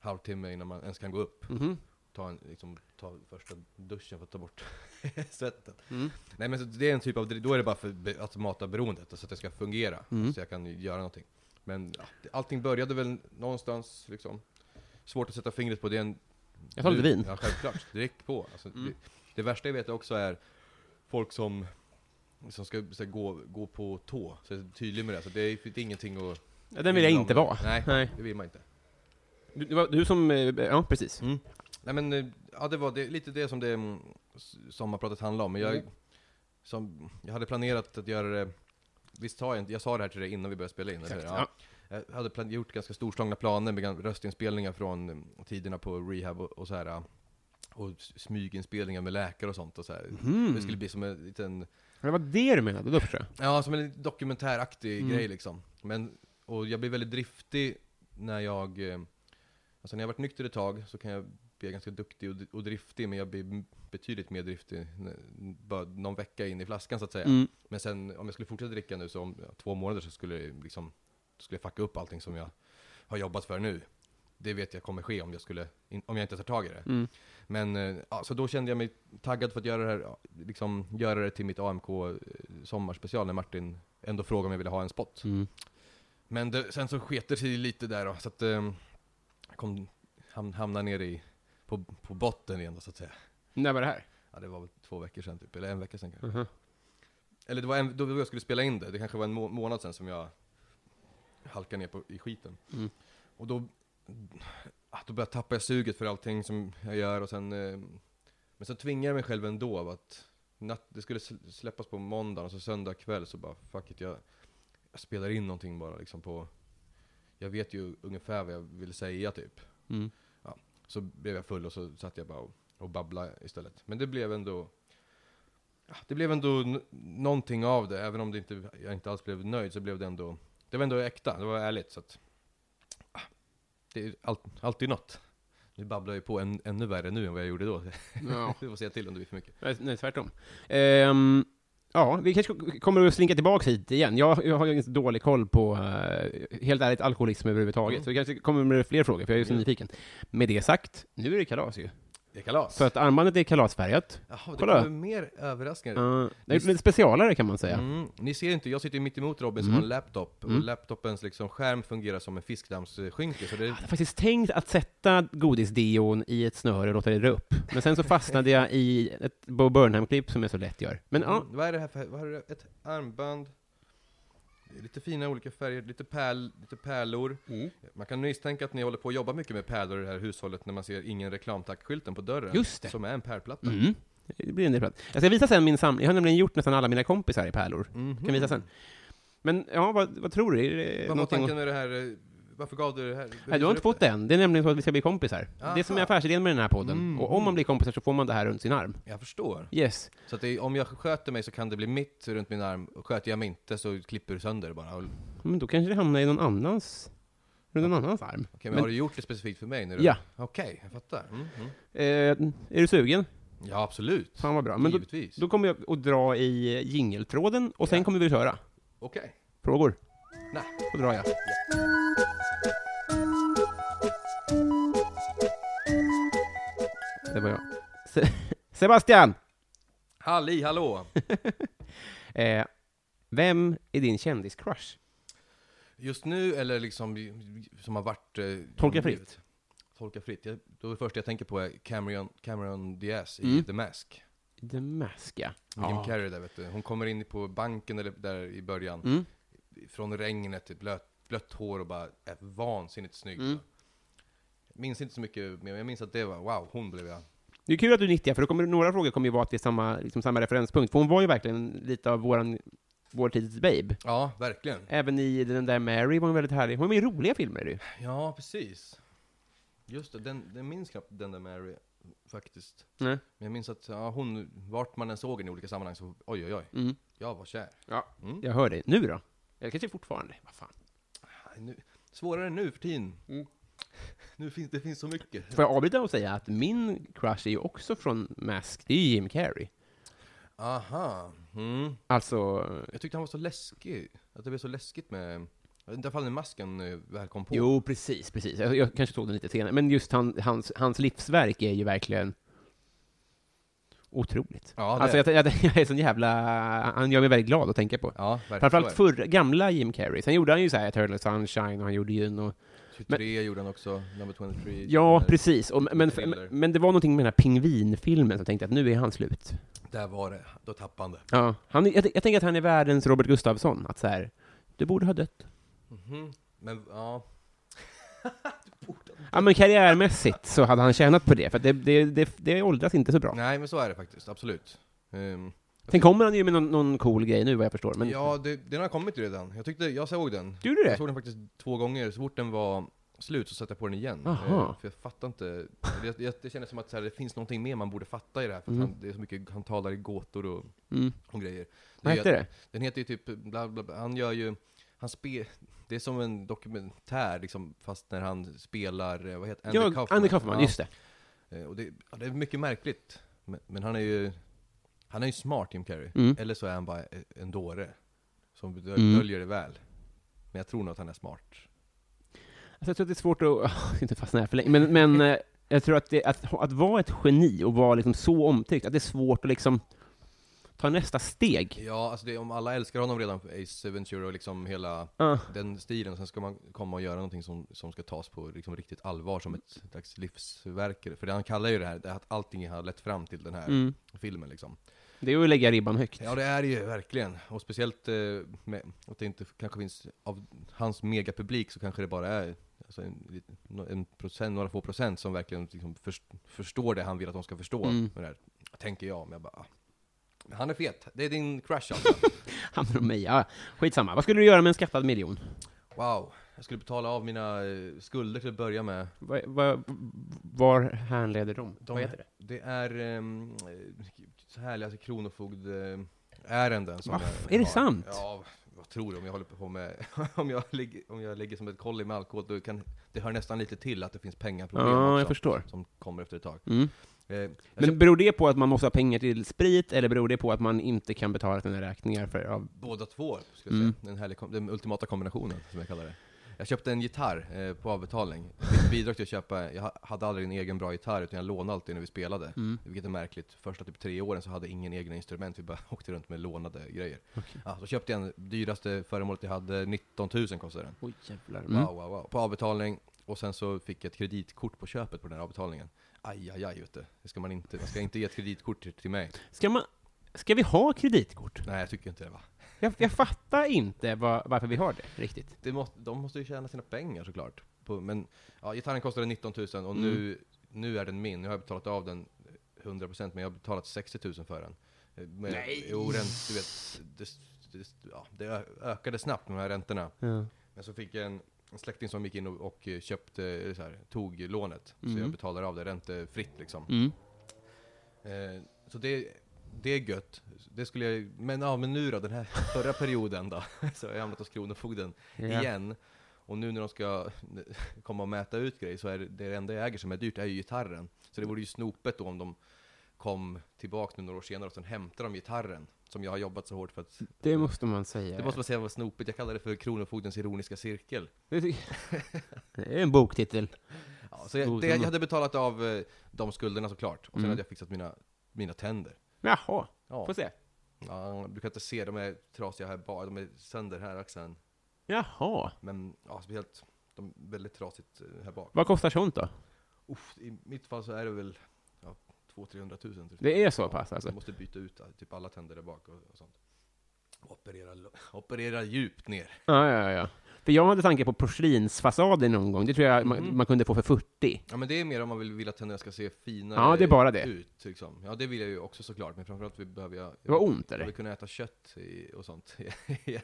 halvtimme innan man ens kan gå upp.
Mhm.
Ta, en, liksom, ta första duschen för att ta bort svetten.
Mm.
Nej men så det är en typ av, dri- då är det bara för be- att mata beroendet, så att det ska fungera.
Mm.
Så jag kan göra någonting. Men ja, det- allting började väl någonstans liksom. Svårt att sätta fingret på det. en-
Jag tar lite
nu-
vin. Mm.
Ja, självklart. Direkt på. Alltså, det, det värsta jag vet också är folk som, som ska så här, gå, gå på tå. Så jag är tydlig med det. Så det är det är ingenting att...
Ja, den vill jag inte vara.
Nej,
Nej.
det vill man inte.
Du, det var du som... eh, Ja,
Mm.
precis.
Nej men, eh, ja det var det, lite det som det mm, s- sommarpratet handlade om. Men jag, som, jag hade planerat att göra det, visst sa jag inte, jag sa det här till dig innan vi började spela in, eller hur? Ja. Jag hade plan, gjort ganska storslagna planer med gan- röstinspelningar från mm, tiderna på rehab och, och så här. eh, Och s- smyginspelningar med läkare och sånt och så här. Det skulle bli som en liten,
Det var det du menade, då förstår jag.
ja som en liten dokumentäraktig grej liksom. Men, och jag blir väldigt driftig när jag, eh, alltså när jag har varit nykter ett tag så kan jag bli ganska duktig och, och driftig, men jag blir m- betydligt mer driftig när- bara någon vecka in i flaskan så att säga. Men sen om jag skulle fortsätta dricka nu så om ja, två månader så skulle jag liksom, skulle jag fucka upp allting som jag har jobbat för nu. Det vet jag kommer ske om jag, skulle, in- om jag inte tar tag i det. Men eh, ja, så då kände jag mig taggad för att göra det här, ja, liksom göra det till mitt AMK eh, sommarspecial när Martin ändå frågade om jag ville ha en spot. Men det, sen så sket det sig lite där då, så att eh, jag kom, ham, hamnade nere i, på, på botten igen då, så att säga.
När var det här?
Ja, det var väl två veckor sedan typ, eller en vecka sedan kanske. Eller det var en, då jag skulle spela in det, det kanske var en må månad sedan som jag halkade ner på, i skiten. Och då, ah, då började jag tappa suget för allting som jag gör och sen, eh, men så tvingade jag mig själv ändå av att natt, det skulle sl- släppas på måndag och så söndag kväll så bara fuck it, jag, jag spelar in någonting bara liksom på, jag vet ju ungefär vad jag vill säga typ. Ja, så blev jag full och så satt jag bara och, och babblade istället. Men det blev ändå ja, det blev ändå n- någonting av det, även om det inte, jag inte alls blev nöjd så blev det ändå Det var ändå äkta, det var ärligt så att ah, Det är all, alltid något Nu babblar jag ju på än, ännu värre nu än vad jag gjorde då
Ja.
Du får säga till om det blir för mycket
Nej, Eh, nej, tvärtom. Ehm, ja, vi kanske kommer att slinka tillbaka hit igen. Jag, jag har ju ganska dålig koll på, eh, helt ärligt, alkoholism överhuvudtaget. Så vi kanske kommer med fler frågor, för jag är ju så nyfiken. Med det sagt, nu är det kalas ju.
Det är kalas!
För att armbandet är kalasfärgat.
Jaha, det
Kolla.
kommer mer överraskningar
Uh, det är lite specialare kan man säga.
Mm, ni ser inte, jag sitter ju mitt emot Robin
Mm.
som har en laptop och laptopens liksom skärm fungerar som en fiskdammsskynke så det
Ah, Jag hade faktiskt tänkt att sätta godisdeon i ett snöre och låta det dra upp. Men sen så fastnade jag i ett Bo Burnham-klipp som jag så lätt gör. Men ja,
Mm, Vad är det här för, vad är det, ett armband? Det är Lite fina olika färger, lite, pärl, lite pärlor. Man kan misstänka att ni håller på att jobba mycket med pärlor i det här hushållet när man ser ingen reklamtack-skylten på dörren.
Just det.
Som är en pärlplatta.
Mm. Det blir en del prat. Jag ska visa sen min samling. Jag har nämligen gjort nästan alla mina kompisar i pärlor. Kan visa sen. Men ja, vad, vad tror du? Är det
Mhm. Vad var
någonting
tanken
att-
med det här? eh, Varför gav du det här?
Nej, du har inte fått den. Det är nämligen så att vi ska bli kompisar. Det är som är
Aha. Mm.
affärsidén med den här podden. Och om man blir kompisar så får man det här runt sin arm.
Jag förstår.
Yes.
Så att det, är- om jag sköter mig så kan det bli mitt runt min arm. Och sköter jag mig inte så klipper du sönder det bara. Och- Okej,
Men då kanske det hamnar i någon annans... Runt någon annans arm.
men,
Men-
har du gjort det specifikt för mig? När du...
Ja.
Okej, jag fattar. Mm, mm.
Eh, är du sugen?
Ja, absolut.
Fan vad bra. Men då,
Givetvis.
då kommer jag att dra i jingeltråden och sen
Ja.
kommer vi att köra.
Okej.
Frågor?
Nej.
Då drar jag. Det var jag. Se- Sebastian!
Halli hallå!
Eh, vem är din kändiscrush?
Just nu eller liksom som har varit... Eh,
Tolka
som
fritt.
blivit? Tolka fritt. Jag, då det första jag tänker på är Cameron, Cameron Diaz i The Mask.
The Mask, ja.
Jim Carrey där vet du. Hon kommer in på banken eller där i början.
Mm.
Från regnet, typ blött, blött hår och bara är vansinnigt snygg. Jag minns inte så mycket, men jag minns att det var wow, hon blev jag.
Det är kul att du är 90, för då kommer, några frågor kommer ju vara till samma, liksom samma referenspunkt, för hon var ju verkligen lite av våran, vår tids babe.
Ja, verkligen.
Även i den där Mary var hon väldigt härlig. Hon är med i roliga filmer, är det ju.
Ja, precis. Just det, den, den minns knappt den där Mary faktiskt.
Nej.
Men jag minns att ja, hon, vart man än såg henne i olika sammanhang så, oj oj oj,
Mm.
jag var kär.
Ja,
Mm.
jag hör dig. Nu då? Eller kanske fortfarande. Vad fan.
Nej, Nu, svårare nu för tiden.
Mm.
Nu finns, det finns så mycket.
Får jag avbryta och säga att min crush är ju också från Mask. Det är ju Jim Carrey.
Aha. Mm.
Alltså,
Jag tyckte han var så läskig. Att det blev så läskigt med... Jag vet inte ifall den masken eh, väl kom på.
jo precis, precis. Jag, jag kanske tog den lite senare. Men just han, hans, hans livsverk är ju verkligen otroligt.
Ja, det
alltså
är
jag, jag, jag är sån jävla... Han gör mig väldigt glad att tänka på.
Ja, verkligen.
Framförallt
Så är
förra, gamla Jim Carrey. Sen gjorde han ju så här Turtle Sunshine och han gjorde ju och,
det. 23 gjorde han också, number 23.
Ja,
Där-
precis. Och, men,
Thriller.
men det var någonting med den här pingvinfilmen som jag tänkte att nu är han slut.
Där var det. Då tappade han det.
Ja, han, är- jag, jag tänker att han är världens Robert Gustafsson. Att så här, du borde ha dött.
Mhm. Men, ja.
Ja, men karriärmässigt så hade han tjänat på det, för att det, det, det, det åldras inte så bra.
Nej, men så är det faktiskt. Absolut. Ehm,
Sen kommer han ju med någon, någon cool grej nu, vad jag förstår. Men
Ja, det, den har kommit redan. Jag tyckte, jag såg den.
Du gjorde det?
Jag såg den faktiskt två gånger, så fort den var slut så satte jag på den igen.
Aha.
Eh, För jag fattar inte, det, jag, det kändes som att så här, det finns någonting mer man borde fatta i det här, för att han, det är så mycket, han talar i gåtor och,
Mm.
och grejer.
Vad
är-
hette det?
Den heter ju typ, bla, bla, bla, han gör ju, han spe, det är som en dokumentär liksom, fast när han spelar, eh, vad heter
Ja, Andy Kaufman,
Ja.
just det.
Eh, Och det, ja, det är mycket märkligt. Men, men han är ju Han är ju smart Jim Carrey.
Mm.
Eller så är han bara eh, en dåre. Som dö-
Mm.
döljer det väl. Men jag tror nog att han är smart.
Alltså, jag tror att det är svårt att, inte fastna här för länge, men, men eh, jag tror att, det, att, att vara ett geni och vara liksom så omtyckt, att det är svårt att liksom ta nästa steg.
Ja, alltså det, om alla älskar honom redan för Ace Ventura och liksom hela
Ja.
den stilen. Sen ska man komma och göra någonting som, som ska tas på liksom riktigt allvar som ett slags livsverk. För det han kallar ju det här, det är att allting har lett fram till den här
Mm.
filmen liksom.
Det är att lägga ribban högt.
Ja det är det ju verkligen, och speciellt eh, med, att det inte kanske finns, av hans megapublik så kanske det bara är alltså en, liten- no- en procent, några få procent som verkligen liksom förs- förstår det han vill att de ska förstå
Mm.
med det här, tänker jag, men jag bara ah. Men Han är fet, det är din crush alltså.
Hamnar om mig, ja. Skitsamma. Vad skulle du göra med en skattad miljon?
Wow, jag skulle betala av mina eh, skulder till att börja med.
Var, var, var härleder de?
De-
Vad heter det?
Det är ehm, eh, så härliga alltså, kronofogdeärenden som
Va,
jag
är det
har.
sant?
Ja, vad tror du? Om jag håller på med, om jag ligger, om jag ligger som ett kolli med alkohol, då kan, det hör nästan lite till att det finns pengaproblem
Ja, jag
också,
förstår.
som kommer efter ett tag.
Mm.
Eh, jag
Men
ska-
beror det på att man måste ha pengar till sprit, eller beror det på att man inte kan betala sina räkningar för... Av...
Båda två, skulle jag
Mm.
säga. Den, härliga, kom- den ultimata kombinationen, som jag kallar det. Jag köpte en gitarr eh, på avbetalning. Bidrag till att köpa, jag ha- hade aldrig en egen bra gitarr, utan jag lånade alltid när vi spelade.
Mm.
Vilket är märkligt. Första typ tre åren så hade ingen egna instrument, vi bara åkte runt med lånade grejer. Ja, så köpte jag den dyraste föremålet jag hade, 19 000 kostade den.
Oj, jävlar. Mm.
Wow, wow, wow. På avbetalning, och sen så fick jag ett kreditkort på köpet på den här avbetalningen. Aj, aj, aj, vet du. Det ska man inte, man ska inte ge ett kreditkort till, till mig.
Ska, man... Ska vi ha kreditkort?
Nej, jag tycker inte det va.
Jag, jag fattar inte var, varför vi har det, riktigt.
det må, de måste ju tjäna sina pengar såklart. På, men ja, gitarren kostade 19 000 och nu, nu är den min. Nu har jag betalat av den 100% men jag har betalat 60 000 för den. Eh, Med,
Nej.
Jo, rent, du vet, det, det, ja, det ö- ökade snabbt med de här räntorna.
Ja.
Men så fick jag en, en släkting som gick in och, och eh, köpte, eh, så här, tog lånet. Så jag betalar av det räntefritt liksom.
Mm.
Eh, så det, det är gött. Det skulle jag, men, ja, men nu då, den här förra perioden då, så har jag hamnat hos Kronofogden
Ja.
igen. Och nu när de ska komma och mäta ut grejer så är det, det enda jag äger som är dyrt är ju gitarren. Så det vore ju snopet då om de kom tillbaka nu några år senare och sen hämtade de gitarren. Som jag har jobbat så hårt för att...
Det måste man säga.
Det måste man säga var snopet, jag kallar det för Kronofogdens ironiska cirkel.
Det ty- Det är en boktitel.
Ja, så jag, det, jag hade betalat av eh, de skulderna såklart. Och sen hade jag fixat mina, mina tänder.
Jaha,
Ja.
får se.
Ja, du kan inte se, de är trasiga här bak, de är sönder här axeln.
Jaha.
Men ja, speciellt, de är väldigt trasigt eh, här bak.
Vad kostar sånt då?
Uff, I mitt fall så är det väl ja, 200-300 tusen.
Det är så pass
Jag
alltså?
måste byta ut eh, typ alla tänder där bak och, och sånt. Operera, lo- operera djupt ner.
Ja, ja, ja. För jag hade tanke på porslinsfasader någon gång. Det tror jag man,
Mm.
man kunde få för 40.
Ja men det är mer om man vill, vill att tänderna ska se finare
Ja, det är bara det.
ut. Liksom. Ja det vill jag ju också såklart, men framförallt vi behöver jag...
Det var ont, eller?
Jag vill kunna äta kött i, och sånt igen.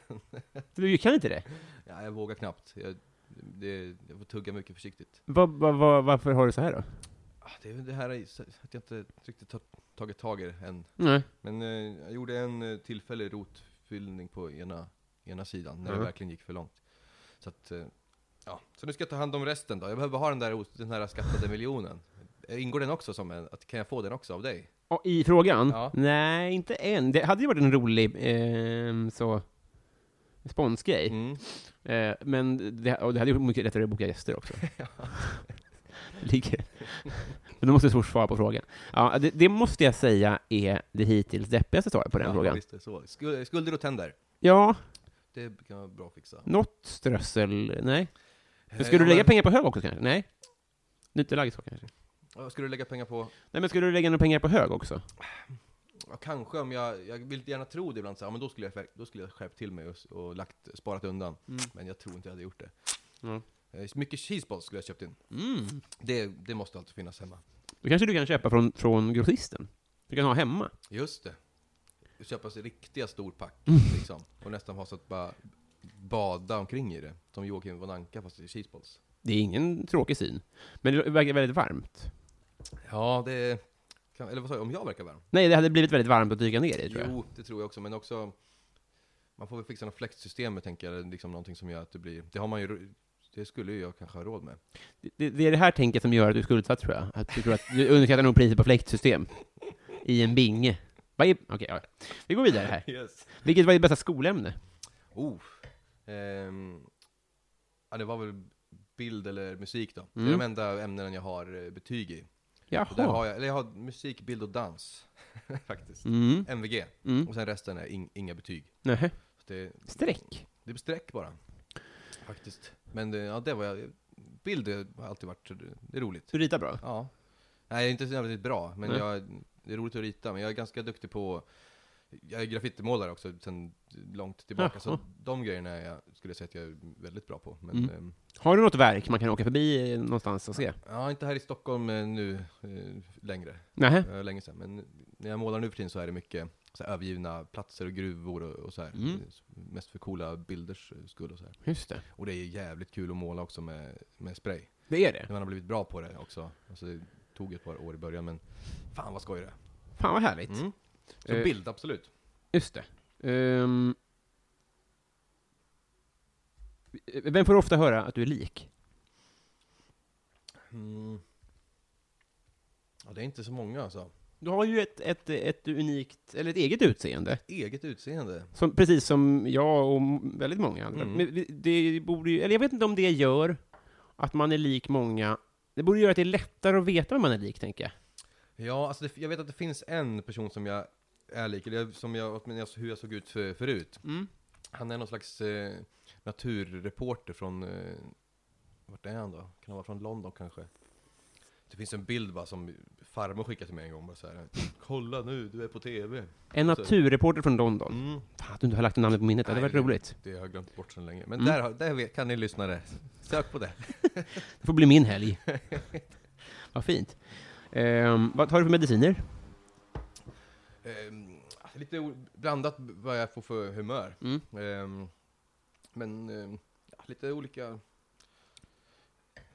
Du kan inte det?
Ja, jag vågar knappt. Jag, det, jag får tugga mycket försiktigt.
Va, va, va, varför har du så här då?
Ah, Det är väl det här är så- att jag inte riktigt har tagit tag i det än.
Nej.
Men eh, jag gjorde en eh, tillfällig rotfyllning på ena, ena sidan, när
Mhm.
det verkligen gick för långt. Så att, eh, ja. Så nu ska jag ta hand om resten då. Jag behöver ha den där, os- den här skattade miljonen. Ingår den också som en, att, kan jag få den också av dig?
Ja, I frågan?
Ja.
Nej, inte än. Det hade ju varit en rolig eh, så, responsgrej.
Mm.
Eh, men det, och det hade ju varit mycket lättare att boka gäster också. Ligger. Men då måste Source svara på frågan. Ja, det, det måste jag säga är det hittills deppigaste svaret på den
Ja,
frågan.
Visst, är det så. Skul- Skulder och tänder.
Ja,
Det kan vara bra att fixa.
något strössel. Nej. Men
Eh,
Skulle du
ja,
lägga
men-
pengar på hög också kanske? Nej. Lite lagg så kanske.
ja, Skulle du lägga pengar på?
Nej, men skulle du lägga några pengar på hög också?
Ja, kanske om jag, jag vill gärna tro det ibland, så, här, ja, men då skulle jag, skär- då skulle jag skärpt till mig och, s- och lagt, sparat undan. Men jag tror inte jag hade gjort det.
Mm. Ja.
Eh, Mycket cheeseballs skulle jag ha köpt in.
Mm.
Det, det måste alltid finnas hemma.
Då kanske du kan köpa från, från grossisten? Du kan ha hemma?
Just det. Köpa sig riktiga storpack, liksom. Och nästan ha så att bara bada omkring i det. Som Joakim von Anka fast i cheeseballs.
Det är ingen tråkig syn. Men det verkar väldigt varmt.
Ja, det... Kan, eller vad sa jag? Om jag verkar varm?
Nej, det hade blivit väldigt varmt att dyka ner i, tror jag.
Jo, det tror jag också. Men också... Man får väl fixa något fläktsystem, tänker jag. Liksom någonting som gör att det blir... Det har man ju... Det skulle ju jag kanske ha råd med.
Det, det är det här tänket som gör att du är skuldsatt, tror jag. Att du, tror att du underskattar nog priset på fläktsystem. I en binge. Vad är... Okej, ja. Vi går vidare här.
Yes.
Vilket var ditt bästa skolämne?
Oh. Ehm, ja, det var väl bild eller musik då. Det
Mm.
är de enda ämnena jag har eh, betyg i. Och där
Jaha.
har jag, eller jag har musik, bild och dans. Faktiskt.
Mm.
MVG.
Mm.
Och sen resten är ing, inga betyg.
Nähä.
Så det,
Streck.
det är streck bara. Faktiskt. Men det, ja, det var jag. Bild har alltid varit det är roligt.
Du ritar bra.
Ja. Nej, jag är inte så jävligt bra, men
Nej.
jag, det är roligt att rita. Men jag är ganska duktig på, jag är graffitimålare också sedan långt tillbaka.
Jaha.
Så de grejerna är jag, skulle jag säga att jag är väldigt bra på. Men,
Mm.
ehm,
Har du något verk man kan åka förbi eh, någonstans och se?
ja, inte här i Stockholm eh, nu eh, längre.
Nähä.
Det var länge sedan, men när jag målar nu för tiden så är det mycket så här, övergivna platser och gruvor och, och så här.
Mm.
Mest för coola bilders eh, skull och så här.
Just det.
Och det är jävligt kul att måla också med, med spray.
Det är det.
När man har blivit bra på det också. Alltså, det tog ett par år i början, men fan vad skoj det är.
Fan vad härligt.
Mm. Så
Eh,
bild, absolut.
Just det. Ehm. Vem får ofta höra att du är lik?
Mm. Ja, det är inte så många alltså.
Du har ju ett, ett, ett unikt, eller ett eget utseende.
Eget utseende.
Som, precis som jag och m- väldigt många andra.
Mm.
Men vi- det borde ju, eller jag vet inte om det gör att man är lik många. Det borde göra att det är lättare att veta vem man är lik, tänker jag.
Ja, alltså det, jag vet att det finns en person som jag är lik, eller som jag, åtminstone hur jag såg ut för, förut.
Mm.
Han är någon slags eh, naturreporter från, eh, vart är han då? Kan han vara från London kanske? Det finns en bild bara som farmor skickade till mig en gång, bara så här, Kolla nu, du är på TV.
En
Så-
naturreporter från London.
Mm.
Fan att du inte har lagt namnet på minnet, det hade
Nej,
varit roligt.
Det har jag glömt bort sedan länge. Men
Mm.
där, har- där vet- kan ni lyssna det. Sök på det.
Det får bli min helg. vad fint. Ehm, vad tar du för mediciner?
Ehm, lite o- blandat b- vad jag får för humör.
Mm.
Ehm, men ehm, ja, lite olika...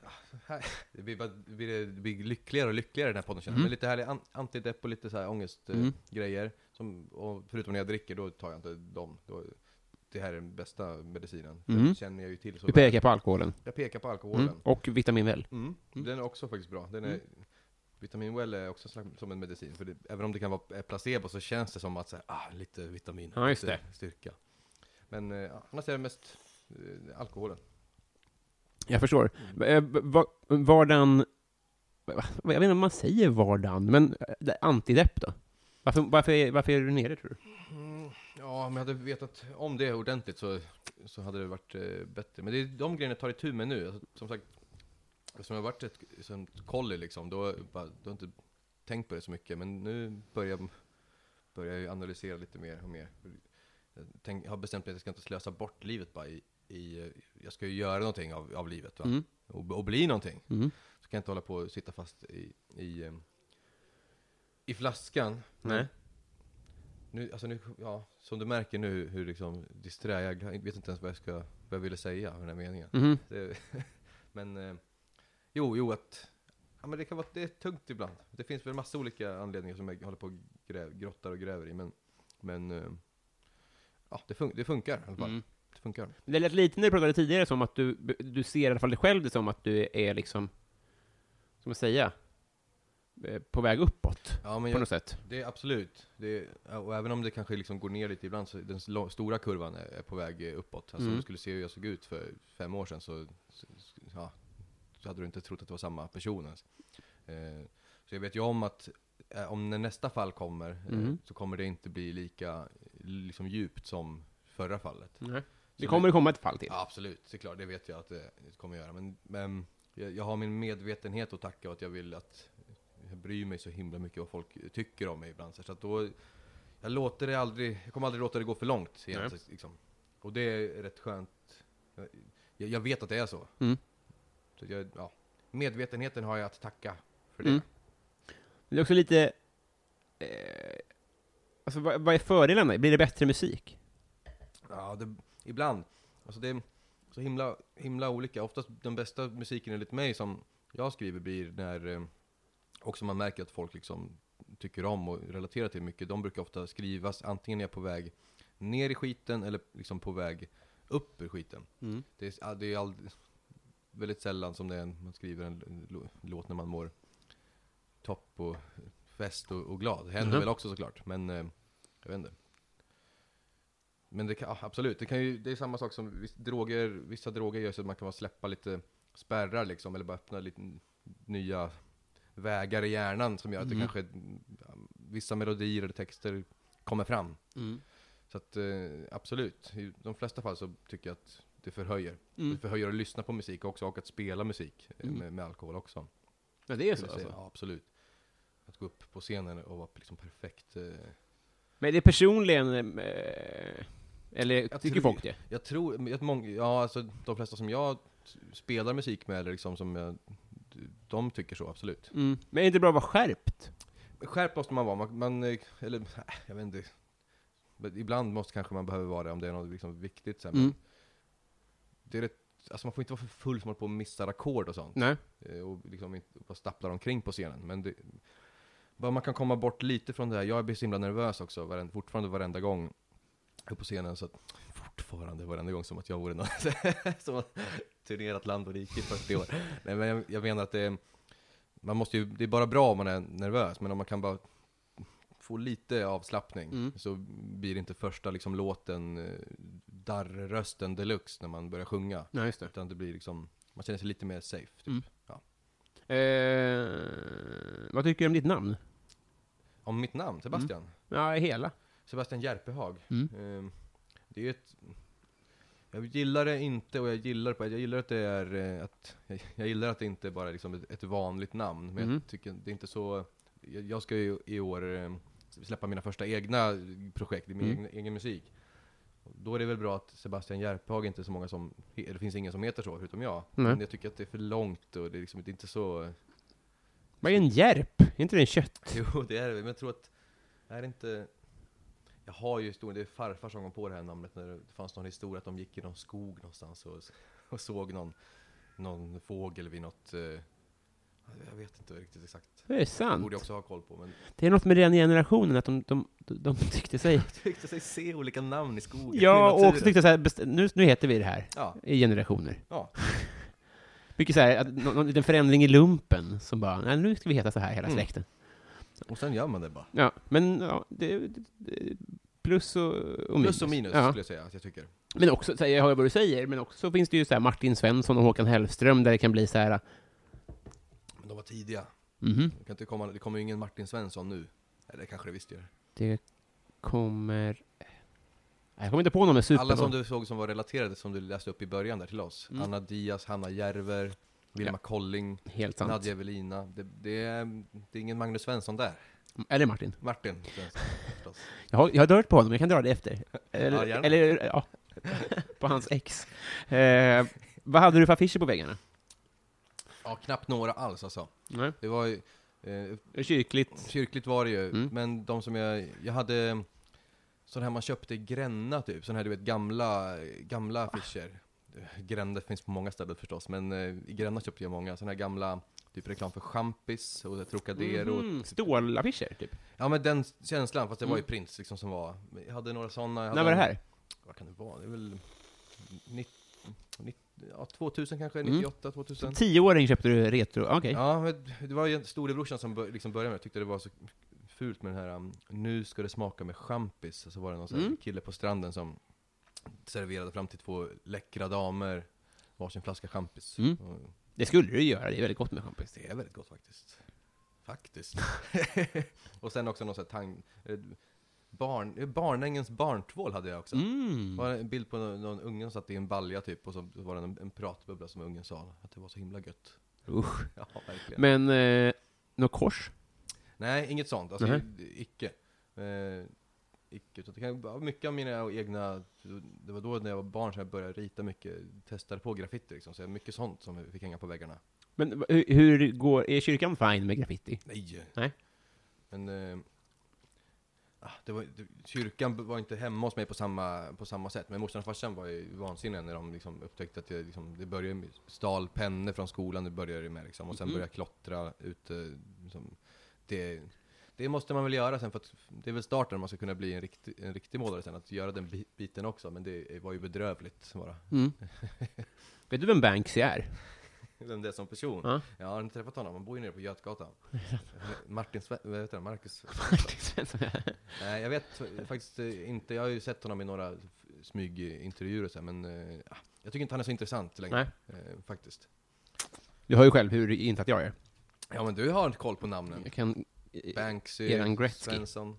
Ja, här- Det blir, bara, det, blir, det blir lyckligare och lyckligare den här podden känner jag.
Mm.
Men lite härlig an, antidepp och lite så här
Mm.
ångestgrejer. Som, och förutom när jag dricker, då tar jag inte dem. Då, det här är den bästa medicinen.
Mm.
Den känner jag ju till. Så
Du pekar på alkoholen.
Jag pekar på alkoholen.
Mm. Och vitamin väl. Mm.
Mm. Den är också faktiskt bra. Den är, Vitamin Well är också slags- som en medicin. För det, även om det kan vara är placebo så känns det som att så här, ah, lite vitamin,
Ja, just
lite
det.
styrka. Men eh, ja, annars är det mest eh, alkoholen.
Jag förstår. Eh, va- Vardagen... va- Jag vet inte om man säger vardagen, men eh, det- antidepp då? Varför, varför, är, varför är du nere, tror du?
Mm, Ja, om jag hade vetat om det ordentligt så, så hade det varit eh, bättre. Men det är de grejerna jag tar itu med nu. Alltså, som sagt, eftersom jag har varit ett som ett kolli liksom, då, bara, då har jag inte tänkt på det så mycket. Men nu börjar, börjar jag ju analysera lite mer och mer. Jag tänk, har bestämt mig att jag ska inte slösa bort livet bara i, i eh, jag ska ju göra någonting av, av livet va?
Mm.
Och, och bli någonting.
Mm.
Så kan jag inte hålla på och sitta fast i, i, eh, i ehm, flaskan.
Nej.
Nu, alltså nu, ja, som du märker nu hur liksom disträ jag jag vet inte ens vad jag, ska, vad jag ville säga med den här meningen.
Mhm.
Det, men eh, jo, jo att ja, men det kan vara det är tungt ibland. Det finns väl massa olika anledningar som jag håller på och gräv, grottar och gräver i, men, men eh, ja, det, fun, det funkar i alla fall.
Mm.
Det funkar.
Det lät lite när du pratade tidigare som att du, du ser i alla fall dig själv det som att du är liksom, ska man säga, eh, på väg uppåt
Ja, men
på
jag,
något sätt.
det är absolut. Det är, ja, och även om det kanske liksom går ner lite ibland så är den s- lo- stora kurvan är, är på väg eh, uppåt. Alltså om
Mm.
du skulle se hur jag såg ut för fem år sedan så, så, ja, så hade du inte trott att det var samma person ens. Eh, så jag vet ju om att eh, om när nästa fall kommer eh,
Mm.
så kommer det inte bli lika eh, liksom djupt som förra fallet.
Det kommer det komma ett fall till.
Ja, absolut, det är klart, det vet jag att det kommer göra. Men, men jag, jag har min medvetenhet att tacka och att jag vill att jag bryr mig så himla mycket vad folk tycker om mig ibland. Så att då, jag låter det aldrig, jag kommer aldrig låta det gå för långt. igen,
Nej.
så Liksom. Och det är rätt skönt. Jag, jag- jag vet att det är så.
Mm.
så att jag, ja. Medvetenheten har jag att tacka för det.
Mm. Men det är också lite, eh, alltså vad, vad är fördelarna? Blir det bättre musik?
Ja, det, ibland. Alltså det är så himla, himla olika. Oftast den bästa musiken enligt mig som jag skriver blir när eh, också man märker att folk liksom tycker om och relaterar till mycket. De brukar ofta skrivas antingen när jag är på väg ner i skiten eller liksom på väg upp ur skiten.
Mm.
Det är, ja, det är all, väldigt sällan som det är en, man skriver en, lo- låt när man mår topp och fest och, och glad. Det händer
Mhm.
väl också såklart, men eh, jag vet inte. Men det kan, ja, absolut, det, kan ju, det är samma sak som viss, droger, vissa droger gör så att man kan bara släppa lite spärrar liksom, eller bara öppna lite n- nya vägar i hjärnan som gör att
Mhm.
det kanske, ja, vissa melodier eller texter kommer fram.
Mm.
Så att eh, absolut, i de flesta fall så tycker jag att det förhöjer.
Mm.
Det förhöjer att lyssna på musik också och att spela musik eh,
Mm.
med, med alkohol också.
Ja, det är så
Skulle jag säga.
alltså.
Ja, absolut. Att gå upp på scenen och vara liksom perfekt. Eh,
Men det är personligen, eh, eller
Jag
tycker
tror-
folk det?
jag tror men att många, ja alltså de flesta som jag s- spelar musik med eller liksom som jag, de tycker så absolut.
Mm. Men är det inte bra att vara skärpt?
Men Skärpt måste man vara, man, man eh, eller äh, jag vet inte. Men Ibland måste kanske man behöver vara det om det är något liksom viktigt sen.
Mm.
Men det är rätt, alltså man får inte vara för full som håller på och missar ackord och sånt.
Nej.
Eh, och liksom inte- och bara stapplar omkring på scenen. Men det, bara man kan komma bort lite från det här. Jag blir så himla nervös också, varenda, fortfarande varenda gång upp på scenen. Så att, fortfarande varenda gång som att jag vore någon som har turnerat land och rike i 40 år. Nej, men jag, jag menar att det, man måste ju, det är bara bra om man är nervös, men om man kan bara få lite avslappning
Mm.
så blir det inte första liksom, låten eh, darrrösten deluxe när man börjar sjunga.
Nej, just det.
Utan det blir liksom, man känner sig lite mer safe. Typ.
Mm.
Ja.
Eh, vad tycker du om ditt namn?
Om mitt namn, Sebastian.
Ja, hela.
Sebastian Järpehag.
Mm.
Ehm, det är ju ett... Jag gillar det inte och jag gillar, jag gillar att det är eh, att, jag, jag gillar att det inte bara är liksom ett, ett vanligt namn, men
Mm.
jag tycker det är inte så... Jag, jag ska ju i år eh, släppa mina första egna projekt, i min
Mm.
egen, egen musik. Då är det väl bra att Sebastian Järpehag inte är så många som, he- det finns ingen som heter så förutom jag.
Nej.
Men jag tycker att det är för långt och det är liksom det är inte så...
Vad är en järp? Är inte det en kött?
Jo, det är det. Men jag tror att... Är det inte... Jag har ju historien, det är farfar som kom på det här namnet när det fanns någon historia att de gick i någon skog någonstans och, och såg någon, någon fågel vid något... Eh, jag vet inte riktigt exakt.
Det är
Det
sant.
borde jag också ha koll på. Men
Det är något med den generationen, att de, de, de tyckte sig...
tyckte sig se olika namn i skogen. i
Ja, och
naturen.
också tyckte så här, best- nu, nu heter vi det här.
Ja,
I generationer.
ja.
Mycket så här, att någon, någon liten förändring i lumpen, som bara, nej, nu ska vi heta så här hela
Mm.
släkten.
Och sen gör man det bara.
Ja, men ja, det, det- det, plus och, och minus.
Plus och minus
Ja.
skulle jag säga att jag tycker.
Men också, så här, jag hör vad du säger, men också finns det ju så här Martin Svensson och Håkan Hellström där det kan bli så här,
Men de var tidiga.
mhm,
Det, kan inte komma, det kommer ju ingen Martin Svensson nu. Eller kanske det visst gör.
det kommer... Nej, Jag kommer inte på någon med super.
Alla som du såg som var relaterade, som du läste upp i början där till oss.
Mm.
Anna Diaz, Hanna Järver, Vilma Colling,
Helt sant.
Nadja Evelina. Det, det, är, det är ingen Magnus Svensson där.
Eller Martin.
Martin Svensson förstås.
Jag har, jag har dört på honom, jag kan dra det efter.
Ja,
Eller,
gärna.
eller ja. på hans ex. Eh, vad hade du för affischer på väggarna?
Ja, knappt några alls alltså.
Nej.
Det var ju, eh,
Kyrkligt.
kyrkligt var det ju,
Mm.
men de som jag, jag hade Sån här man köpte i Gränna typ, sån här du vet gamla,
Ah.
gamla affischer. Gränna finns på många ställen förstås, men eh, i Gränna köpte jag många. Sån här gamla, typ reklam för champis och Trocadero.
Mhm, Stålaffischer, typ.
Ja men den känslan, fast det var ju Prince liksom som var. Jag hade några sådana. jag hade
Mm. När var det
en-
här?
Vad kan det vara? Det är väl 90, 90, ja, 2000 kanske,
Mm.
98, 2000.
Tioåring köpte du retro, okej.
Ja, men det var ju storebrorsan som bör, liksom började med det. Jag tyckte det var så fult med den här um, Nu ska det smaka med champis. Och så var det någon sån här
Mm.
kille på stranden som serverade fram till två läckra damer varsin flaska champis.
Mm.
Och
Det skulle du göra, det är väldigt gott med champis.
det är väldigt gott faktiskt. Faktiskt. och sen också någon sån här tang... eh, Barn, eh, barnängens barntvål hade jag också. Det
Mm.
var en bild på någon, någon unge som satt i en balja typ, och så var det en, en pratbubbla som ungen sa att det var så himla gött.
Usch.
Ja, verkligen.
Men, eh, något kors?
Nej, inget sånt. Alltså,
Nej.
det- icke. Eh, icke. Utan det kan, ja, mycket av mina egna, det var då när jag var barn som jag började rita mycket, testade på graffiti liksom. Så jag- mycket sånt som vi fick hänga på väggarna.
Men hur, hur går, är kyrkan fine med graffiti?
Nej!
Nej.
Men, eh, ah, det var, det, kyrkan var inte hemma hos mig på samma, på samma sätt. Men morsan och farsan var ju vansinniga när de liksom upptäckte att jag liksom, det började med stal pennor från skolan, det började det med liksom. Och sen
Mhm.
började jag klottra ute. Liksom, det, det måste man väl göra sen för att det är väl starten om man ska kunna bli en riktig, en riktig målare sen, att göra den bi- biten också. Men det var ju bedrövligt bara.
Mm. Vet du vem Banksy är?
Vem det är som person.
Ja.
Jag har inte träffat honom, han bor ju nere på Götgatan. Martin Sve- vad heter han? Marcus
Martin Svensson.
Nej, jag vet faktiskt eh, inte. Jag har ju sett honom i några f- smygintervjuer och så här, men eh, ah, jag tycker inte han är så intressant längre. Eh, faktiskt.
Du hör ju själv hur insatt jag är.
Ja, men du har inte koll på namnen.
Jag kan... eh,
Banksy,
Eran Gretzky.
Svensson.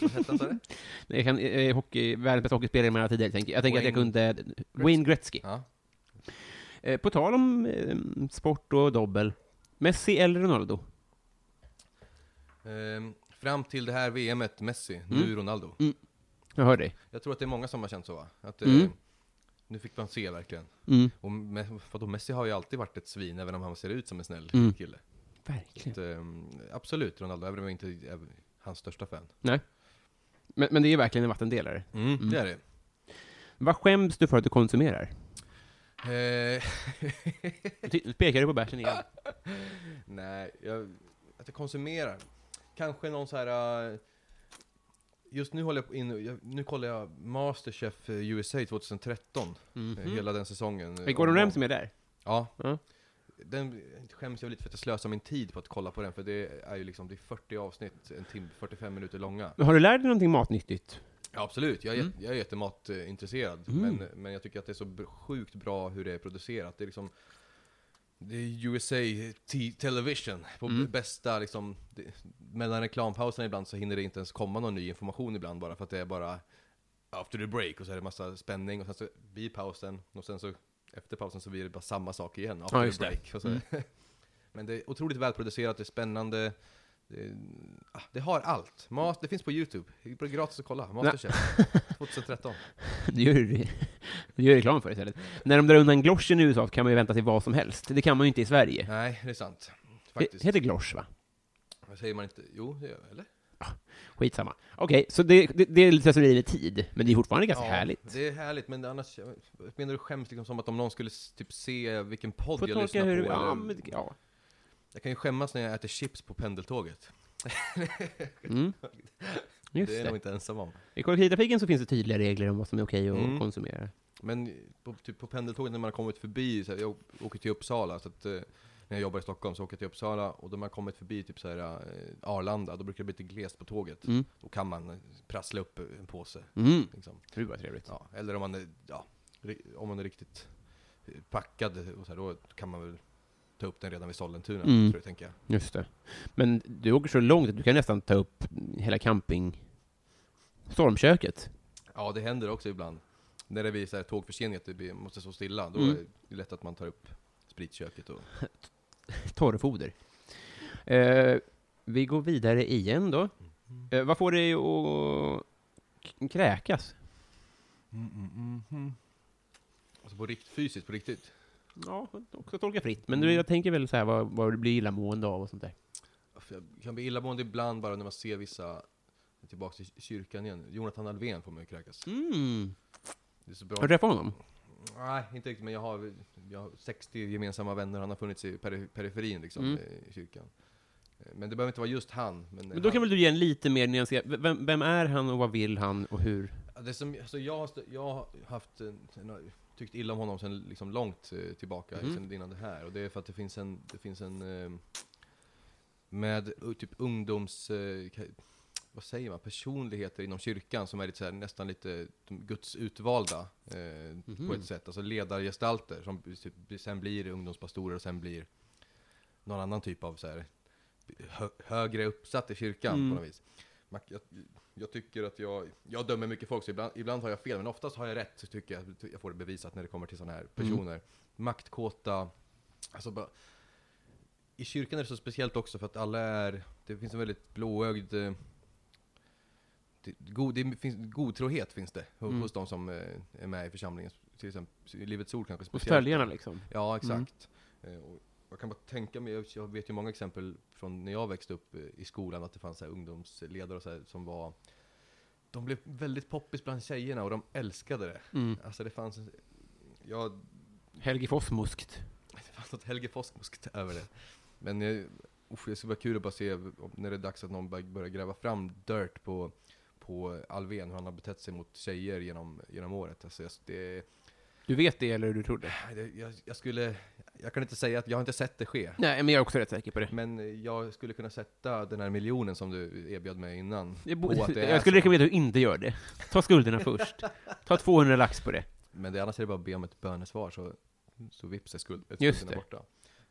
Vad hette han sa du?
Jag kan eh, hockey, världens bästa hockeyspelare i alla tider, jag tänker jag. tänker att jag
Wayne
kunde... Wayne Gretzky.
Ja.
Eh, på tal om eh, sport och dobbel. Messi eller Ronaldo?
Ehm, fram till det här VMet, Messi,
Mm.
nu Ronaldo.
Jag hör dig.
Jag tror att det är många som har känt så va? Att, eh,
Mm.
Nu fick man se verkligen.
Mm.
Och Me- vadå, Messi har ju alltid varit ett svin, även om han ser ut som en snäll
Mm.
kille.
Verkligen.
Att, eh, absolut Ronaldo, även om jag inte är hans största fan.
Nej. Men, men det är verkligen en vattendelare.
Mm, Det är det.
Vad skäms du för att du konsumerar?
Eh,
Nu ty- nu pekar du på bärsen igen.
nej, jag, att jag konsumerar. Kanske någon så här... eh, Just nu håller jag på in, jag, nu kollar jag Masterchef eh, USA 2013, eh, hela den säsongen.
Är Gordon Ramsay med där?
Ja.
Ja.
Den skäms jag lite för att jag slösar min tid på att kolla på den, för det är ju liksom, det är 40 avsnitt, en timme, 45 minuter långa.
Men har du lärt dig någonting matnyttigt?
Ja, absolut, jag är, mm. jag är jättematintresserad,
Mm.
men, men jag tycker att det är så br- sjukt bra hur det är producerat. Det är liksom det är USA t- Television, på
Mm.
bästa liksom, det, mellan reklampauserna ibland så hinner det inte ens komma någon ny information ibland bara för att det är bara after the break och så är det massa spänning och sen så blir pausen och sen så efter pausen så blir det bara samma sak igen, after
just
the
det. Mm.
break. Och så. Men det är otroligt välproducerat, det är spännande, det, ah, det har allt. Mat, det finns på Youtube, det är gratis att kolla, Masterchef 2013.
Du gör, du du gör reklam för det istället. När de drar undan gloschen i USA kan man ju vänta sig vad som helst. Det kan man ju inte i Sverige.
Nej, det är sant.
Det
Faktiskt.
heter glosch, va?
Vad Säger man inte, jo, det gör jag, eller?
Skitsamma. Okej, så det, det, det är lite slöseri med tid, men det är fortfarande ganska härligt.
Det är härligt, men annars, jag menar du skäms liksom som att om någon skulle s- typ se vilken podd
Får
jag
tolka
lyssnar
hur...
på?
Ja,
eller,
men, ja.
Jag kan ju skämmas när jag äter chips på pendeltåget.
Mm. Just
det är
det.
jag nog inte ensam om.
I kollektivtrafiken så finns det tydliga regler om vad som är okej att
Mm.
konsumera.
Men på, typ på pendeltåget när man har kommit förbi, så här, jag åker till Uppsala, så att, eh, när jag jobbar i Stockholm så åker jag till Uppsala, och då man kommit förbi typ så här, eh, Arlanda, då brukar det bli lite glest på tåget.
Mm.
Då kan man eh, prassla upp en påse.
Mm.
Liksom.
Gud vad trevligt.
Ja, eller om man är, ja, ri- om man är riktigt eh, packad, och så här, då kan man väl ta upp den redan vid Sollentuna,
Mm.
tror jag, tänker jag.
Just det. Men du åker så långt att du kan nästan ta upp hela camping... Stormköket.
Ja, det händer också ibland. När det blir så här tågförseningar, att det blir, måste stå stilla, då
Mm.
är det lätt att man tar upp spritköket och...
Torrfoder. Eh, vi går vidare igen då. Eh, vad får dig att k- kräkas?
Alltså på rikt, fysiskt, på riktigt.
Ja, också tolka fritt. Men du, jag tänker väl så här vad, vad du blir illamående av och sånt där.
För Jag kan bli illamående ibland bara när man ser vissa tillbaka till kyrkan igen. Jonathan Alvén får man ju kräkas.
Mm.
Det är så bra.
Har du träffat honom?
Nej, inte riktigt, men jag har, jag har 60 gemensamma vänner. Han har funnits i peri- periferin liksom,
Mm.
eh, i kyrkan. Eh, Men det behöver inte vara just han. Men,
Men då
han,
kan väl du ge en lite mer nyanserad... V- Vem, vem är han och vad vill han och hur?
Ja, Det som, alltså jag, har stö- jag har haft, en- en- har tyckt illa om honom sen liksom långt eh, tillbaka,
Mhm.
sen innan det här. Och det är för att det finns en, det finns en eh, med u- typ ungdoms, eh, ka- vad säger man, personligheter inom kyrkan som är lite så här, nästan lite de Guds utvalda eh, på
Mhm.
ett sätt. Alltså ledargestalter som b- typ, blir- sen blir ungdomspastorer och sen blir någon annan typ av så här, hö, högre uppsatt i kyrkan
Mm.
på något vis. Man, jag, jag tycker att jag, jag dömer mycket folk, så ibland, ibland har jag fel, men oftast har jag rätt, så tycker jag. Jag får det bevisat när det kommer till sådana
Mm.
här personer. Maktkåta, alltså bara, i kyrkan är det så speciellt också för att alla är, det finns en väldigt blåögd eh, det, god, det finns, godtrohet finns det hos,
Mm.
hos de som eh, är med i församlingen, till exempel i Livets Ord kanske
Och
speciellt.
följarna liksom?
Ja, exakt. Eh, och jag kan bara tänka mig, jag- jag vet ju många exempel från när jag växte upp eh, i skolan, att det fanns så här ungdomsledare och så här, som var de blev väldigt poppis bland tjejerna och de älskade det.
Mm.
Alltså det fanns, jag
Helge Fossmuskt.
det fanns något Helge Fossmuskt över det. Men eh, usch, det skulle vara kul att bara se om- när det är dags att någon bör- börjar gräva fram dirt på, på Alven, hur han har betett sig mot tjejer genom, genom året. Alltså, jag, det,
Du vet det, eller du tror det?
nej, det- jag, jag skulle, jag kan inte säga att jag har inte sett det ske.
Nej, men jag är också rätt säker på det.
Men eh, jag skulle kunna sätta den här miljonen som du erbjöd mig innan.
Jag, bo-
på att det är
jag skulle
så.
rekommendera att du inte gör det. Ta skulderna först. Ta 200 lax på det.
Men det, annars är det bara att be om ett bönesvar så, så vips är skuld, skulderna
Just det.
borta.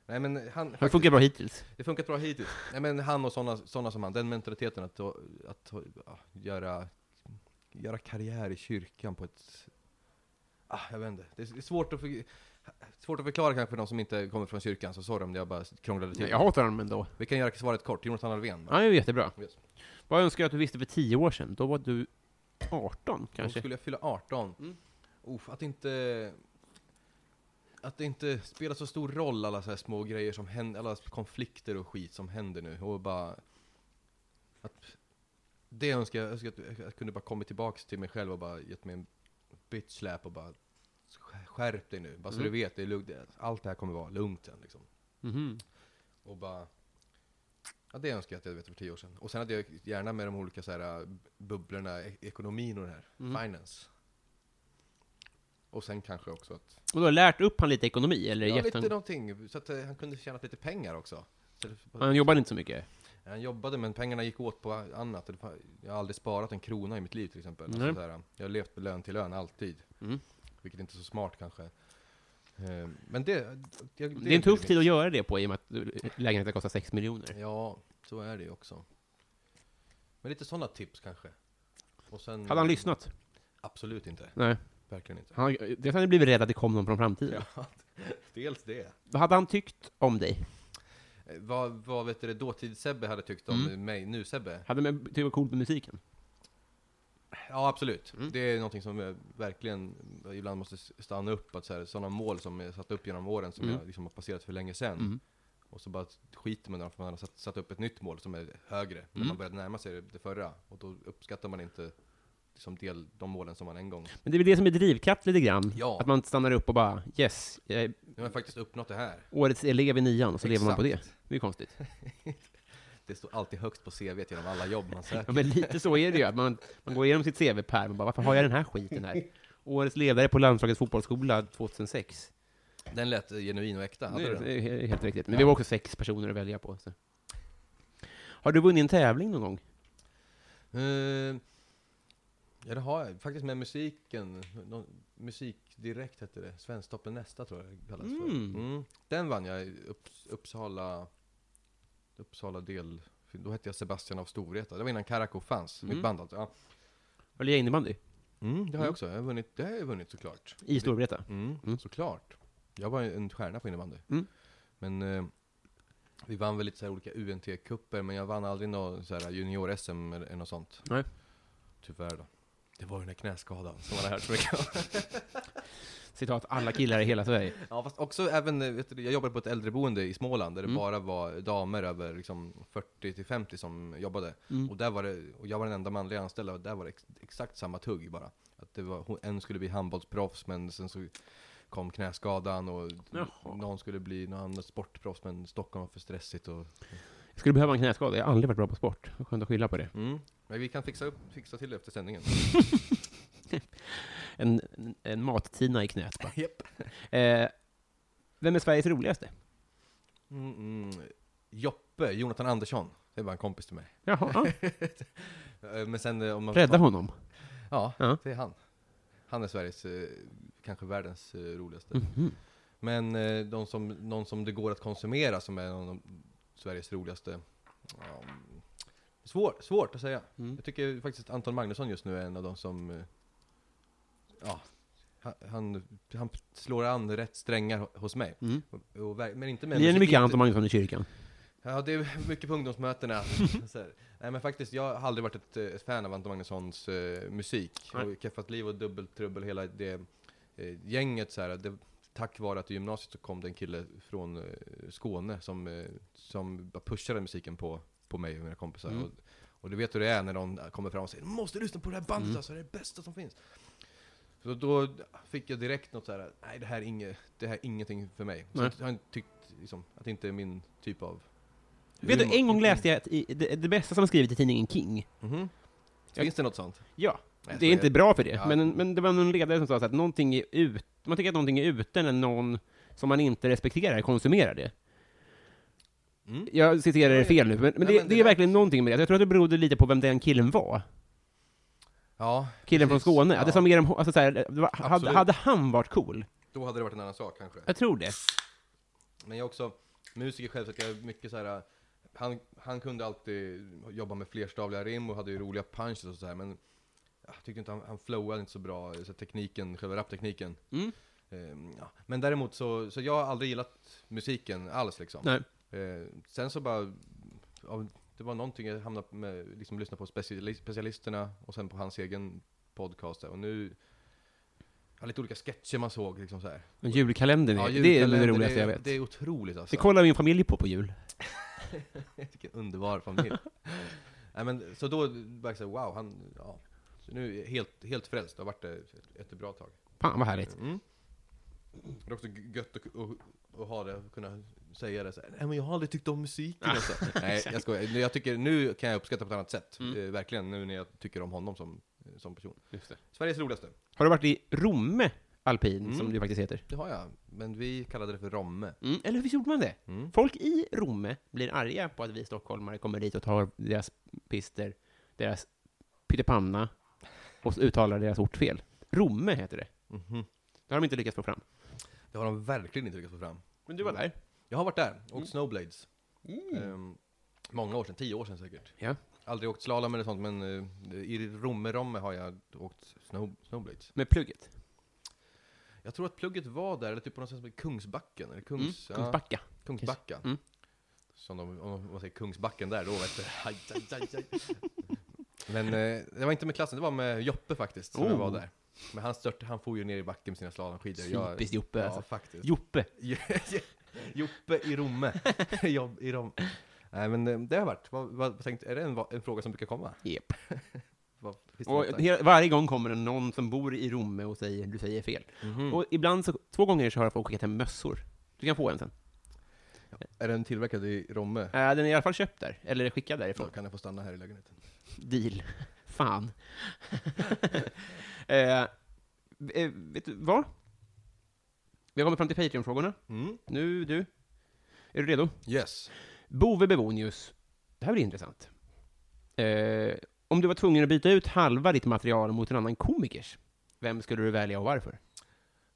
Nej men han,
Har det funkat bra hittills?
Det funkat bra hittills. Nej men han och sådana såna som han, den mentaliteten att, att, att ja, göra, göra karriär i kyrkan på ett... Ah, jag vet inte. Det är svårt att, för, svårt att förklara kanske för de som inte kommer från kyrkan, så sorry om jag bara krånglade till
Nej, jag hatar honom ändå.
Vi kan göra svaret kort, Jonathan Alfvén.
Han är ju jättebra.
Yes.
Vad önskar jag att du visste för 10 år sedan? Då var du 18,
Då
kanske?
skulle jag fylla 18.
Mm.
Uff, att inte... Att det inte spelar så stor roll alla så här små grejer som händer, alla konflikter och skit som händer nu och bara... Att, det önskar jag, önskar att jag kunde bara kommit tillbaks till mig själv och bara gett mig en bitch slap och bara skärp dig nu, bara så
Mm.
du vet, det är lugnt, allt det här kommer vara lugnt sen liksom.
Mhm.
Och bara... Ja, det önskar jag att jag vet för tio år sedan. Och sen hade jag gärna med de olika så här, eh, bubblorna, e- ekonomin och det här.
Mm.
Finance. Och sen kanske också att...
Och du har lärt upp han lite ekonomi, eller?
Ja,
gett
lite
han...
någonting. Så att eh, han kunde tjäna lite pengar också. Så det-
Han jobbade inte så mycket?
Han jobbade, men pengarna gick åt på annat. Det var- Jag har aldrig sparat en krona i mitt liv till exempel.
Nej.
Alltså, så här, jag har levt med lön till lön, alltid.
Mm.
Vilket inte är så smart kanske. Eh, Men det... jag-
Det är en tuff
mitt.
tid att göra det på i och med att eh, lägenheten kostar 6 miljoner.
Ja, så är det ju också. Men lite sådana tips kanske. Och sen,
Hade han lyssnat?
Absolut inte.
Nej.
Verkligen inte.
Han, dels hade han blivit rädd att det kom någon från framtiden.
Ja, dels det.
Vad hade han tyckt om dig?
Eh, Vad, vad vet du, det, dåtids-Sebbe hade tyckt om
Mm.
mig, nu-Sebbe?
Hade man tyckt det var coolt med musiken?
Ja, absolut.
Mm.
Det är någonting som jag verkligen ibland måste s- stanna upp. Att så här, sådana mål som jag satt upp genom åren som
Mm.
jag liksom har passerat för länge sedan. Och så bara skiter man i dem för man har satt, satt upp ett nytt mål som är högre. När
Mm.
man började närma sig det förra. Och då uppskattar man inte liksom del, de målen som man en gång...
Men det är väl det som är drivkraft lite grann?
Ja.
Att man stannar upp och bara yes, jag är
Nu har jag faktiskt uppnått det här.
årets elev i nian, och så lever man på det.
Exakt.
Det är ju konstigt.
Det står alltid högst på CVt genom alla jobb man
Ja,
söker.
men lite så är det ju, att man, man går igenom sitt CV-pärm och bara varför har jag den här skiten här? Årets ledare på landslagets fotbollsskola 2006.
Den lät eh, genuin och äkta. Hade
Nej,
du den?
det är he- helt riktigt. Men vi var också sex personer att välja på. Så. Har du vunnit en tävling någon gång?
Eh, ja, det har jag. Faktiskt med musiken. Någon, musik direkt hette det. Svensktoppen nästa tror jag det kallas
Mm.
för. Mm. Den vann jag i upp, Uppsala, Uppsala del. Då hette jag Sebastian av Storvreta. Det var innan Karakou fanns.
Mm.
Mitt band alltså. Ja.
Har du innebandy?
Mm, det har jag också. Jag har vunnit, det har jag vunnit såklart.
I Storvreta?
Mm, Såklart. Jag var ju en stjärna på innebandy.
Mm.
Men eh, vi vann väl lite så här olika UNT-cuper, men jag vann aldrig någon så här junior-SM eller eller något sånt.
Nej.
Tyvärr då. Det var ju den här knäskadan som man har hört så mycket om.
Citat, alla killar i hela Sverige.
Ja, fast också även, eh, vet du, jag jobbade på ett äldreboende i Småland där det bara var damer över liksom 40 till 50 som jobbade. Och, där var det, och jag var den enda manliga anställda och där var det ex, exakt samma tugg bara. Att det var, hon- en skulle bli handbollsproffs men sen så kom knäskadan och
Jaha.
någon skulle bli någon annan sportproffs men Stockholm var för stressigt och...
Jag skulle behöva en knäskada, jag har aldrig varit bra på sport. Skönt att skylla på det.
Mm. Men vi kan fixa, upp, fixa till det efter sändningen.
En, en mattina i knät bara.
Japp.
Eh, vem är Sveriges roligaste?
Mm, mm. Joppe, Jonathan Andersson. Det var en kompis till mig.
Jaha, ja.
Eh, Men sen eh, om man...
rädda honom.
Ja,
Ja.
det är han. Han är Sveriges, eh, kanske världens eh, roligaste.
Mhm.
Men eh, de som, någon som det går att konsumera som är en av de, Sveriges roligaste. Ja, mm, svår, svårt att säga.
Mm.
Jag tycker faktiskt Anton Magnusson just nu är en av de som, eh, ja, han, han, han slår an rätt strängar ho- hos mig.
Mm.
Och, och, ver- men inte med
Lirar ni mycket
inte-
Anton Magnusson i kyrkan?
Ja, det är mycket på ungdomsmötena. Så här. Nej, men faktiskt, jag har aldrig varit ett, eh, ett fan av Anton Magnussons eh, musik.
Nej.
Och Keffat Liv och Dubbeltrubbel, hela det eh, gänget så här. Det, tack vare att i gymnasiet så kom det en kille från eh, Skåne som, eh, som bara pushade musiken på, på mig och mina kompisar.
Mm.
Och, och du vet hur det är när någon kommer fram och säger "Du måste lyssna på det här bandet
Mm.
alltså, det är det bästa som finns. Så då fick jag direkt något så här, nej det här är, inget, det här är ingenting för mig. Så
Nej.
jag har tyckt liksom, att det inte är min typ av
Vet du,
humor.
en gång läste jag att i, det, det bästa som har skrivit i tidningen King.
Mhm.
Jag-
Finns det något sånt?
Ja,
Nej,
det
så
är inte bra för det,
Ja.
men, men det var någon ledare som sa så att någonting är ut, man tycker att någonting är ute när någon som man inte respekterar konsumerar det.
Mm.
Jag citerar det
Nej.
fel nu, men, men,
Nej,
det,
men det
det är
lät-
verkligen någonting med det. Alltså, Jag tror att det berodde lite på vem den killen var.
Ja,
Killen
Precis.
från Skåne.
Ja.
Det som mer om, alltså, så här, det var, hade,
Absolut.
hade han varit cool?
då hade det varit en annan sak kanske.
Jag tror det.
Men jag är också musiker själv, så att jag är mycket så här. Han, han kunde alltid jobba med flerstavliga rim och hade ju roliga punches och så här, men jag tyckte inte han, han flowade inte så bra, så här, tekniken, själva raptekniken.
Mm.
Ehm, ja. Men däremot så, så jag har aldrig gillat musiken alls liksom.
Nej.
Eh, sen så bara, ja, det var någonting jag hamnade med, liksom lyssna på speciali- specialisterna och sen på hans egen podcast där. Och nu, ja, lite olika sketcher man såg liksom så här.
Men julkalendern, är-
Ja,
det är det
julkalender,
roligaste
det,
jag vet.
Det är otroligt alltså.
det kollar min familj på på jul.
Vilken underbar familj. Nej, men, så då bara så här, wow, han, ja. Så nu är jag helt, helt frälst, det har varit det ett, ett bra tag.
Fan vad härligt.
Mm. Det är också gött att, att, att ha det, att kunna säga det så här, Nej men jag har aldrig tyckt om musiken alltså. Nej jag skojar, Nu- jag tycker, nu kan jag uppskatta på ett annat sätt.
Mm.
Eh, verkligen, nu när jag tycker om honom som, eh, som person. Sveriges roligaste,
Har du varit i Romme alpin,
Mm.
som det faktiskt heter?
det har jag. Men vi kallade det för Romme.
Mm. Eller hur gjorde man det?
Mm.
Folk i Romme blir arga på att vi stockholmare kommer dit och tar deras pister, deras pyttipanna och så uttalar deras ort fel. Romme heter det.
Mhm.
Det har de inte lyckats få fram.
Det har de verkligen inte lyckats få fram.
Men du var där?
Jag har varit där, åkt snowblades. Ehm, många år sedan, tio år sedan säkert.
Ja.
Aldrig åkt slalom eller sånt, men eh, i Romme-Romme har jag åkt snow, snowblades.
Med plugget?
Jag tror att plugget var där, eller typ på något sätt som Kungsbacken, eller Kungs,
mm.
ja,
Kungsbacka?
Kungsbacka.
Mm.
Som de, om de- man säger Kungsbacken där då, vet du. Aj, aj, aj, aj. Men eh, det var inte med klassen, det var med Joppe faktiskt, som jag
Oh.
var där. Men han stört, han for ju ner i backen med sina slalomskidor. Jag-
Typiskt Joppe,
Ja,
alltså.
faktiskt.
Joppe?
Joppe i Romme. Jobb i Rom. Nej men eh, det har varit. Vad, vad, tänkt, är det en, va- en fråga som brukar komma?
Yep.
Vad, finns det
Och
något där?
hela, varje gång kommer det någon som bor i Romme och säger du säger fel.
Mhm.
Och ibland, så, två gånger, så har folk skickat hem mössor. Du kan få en sen.
är den tillverkad i Romme?
Äh, den är i alla fall köpt där, eller skickad
Då
därifrån.
kan jag få stanna här i lägenheten.
Deal. Fan. eh, eh, vet du vad? Vi har kommit fram till Patreon-frågorna.
Mm.
Nu, du. Är du redo?
Yes.
Bove Bevonius. Det här blir intressant. Eh, om du var tvungen att byta ut halva ditt material mot en annan komikers, vem skulle du välja och varför?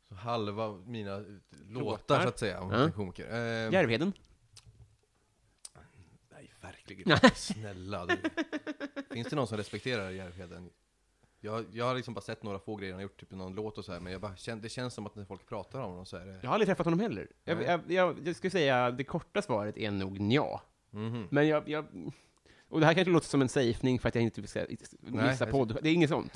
Så halva mina eh, låtar
Låtar.
så att säga, om
Ja.
jag är komiker. Eh,
Järvheden?
Nej, verkligen inte. Snälla du. Finns det någon som respekterar Järvheden? Jag, jag har liksom bara sett några få grejer han har gjort, typ i någon låt och så här, men jag bara, kän- det känns som att när folk pratar om honom så är det...
Jag har aldrig träffat honom heller. Jag,
Nej.
jag, jag, jag skulle säga, det korta svaret är nog nja.
Mhm.
Men jag, jag, Och det här kanske låter som en safening för att jag inte ska missa
Nej.
podd. Det är inget sånt.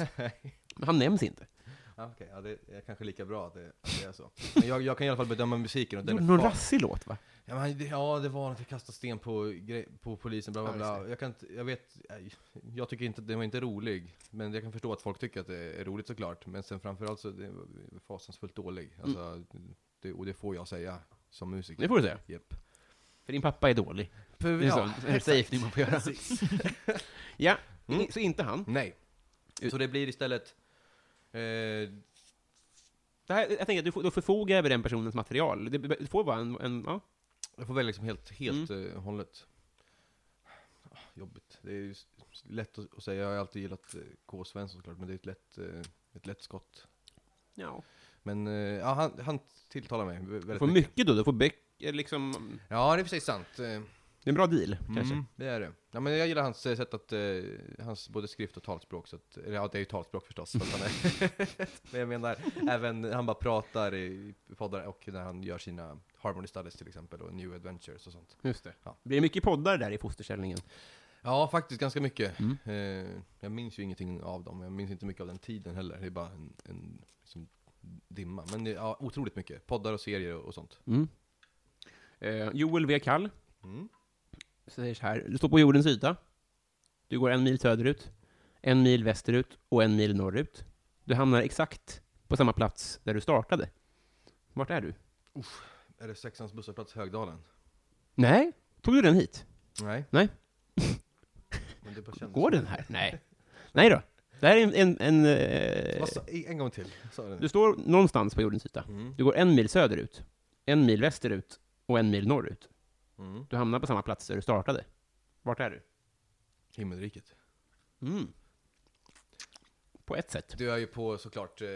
Men han nämns inte.
Ja, Ah, Okej, ja, det är kanske lika bra att det, att det är så. Men jag, jag kan i alla fall bedöma musiken och den
Gjorde
är
någon
fan-
rassig låt, va?
Ja, men, det- ja, det var något, jag kastade sten på, gre- på polisen, bla bla
Ja, just
bla. Jag, kan inte, jag vet, nej, jag tycker inte, den var inte rolig. Men jag kan förstå att folk tycker att det är roligt såklart. Men sen framförallt så, det var fasansfullt dålig. Alltså, det, och det får jag säga som musiker.
Det får du säga.
Japp.
För din pappa är dålig. Det är
Ja,
sånt. En safening man får göra. ja, i- Mm. så inte han.
Nej. Så det blir istället, eh,
Det här, jag tänker att du får, du förfogar över den personens material. Det, du får bara en... en ja.
jag får välja liksom helt, helt
Mm.
eh, hållet. Ah, Jobbigt. Det är ju s- lätt att att säga, jag har alltid gillat eh, K. Svensson såklart, men det är ett lätt, eh, ett lätt skott.
ja.
Men eh, ja, han, han tilltalar mig vä- väldigt
Du får
mycket.
mycket då. Du får böcker, liksom...
Ja, det är precis sant. Eh,
Det är en bra deal, kanske.
Mm, det är det. Ja, men jag gillar hans eh, sätt att, eh, hans både skrift och talspråk. Så att, eller ja, det är ju talspråk förstås. för att han är, men jag menar, även när han bara pratar i i poddar och när han gör sina Harmony Studies till exempel och New Adventures och sånt.
Just det.
Ja.
Blir det mycket poddar där i fosterställningen?
Ja, faktiskt ganska mycket.
Mm.
Eh, jag minns ju ingenting av dem. Jag minns inte mycket av den tiden heller. Det är bara en, en liksom, dimma. Men det- ja, otroligt mycket. Poddar och serier och, och sånt.
Mm. Eh, Joel V. Kall
Mm.
säger så här. Du står på jordens yta. Du går en mil söderut, en mil västerut och en mil norrut. Du hamnar exakt på samma plats där du startade. Vart är du?
Är det sexans busshållplats Högdalen?
Nej, tog du den hit?
Nej.
Nej.
Men det bara kändes
Går
som-
den här? Nej. Nej då. Det här är en... en, en eh,
Vad sa- i- en gång till. Sa den.
du står någonstans på jordens yta.
Mm.
Du går en mil söderut, en mil västerut och en mil norrut.
Mm.
Du hamnar på samma plats där du startade. Vart är du?
Himmelriket.
Mm. På ett sätt.
Du är ju på såklart eh,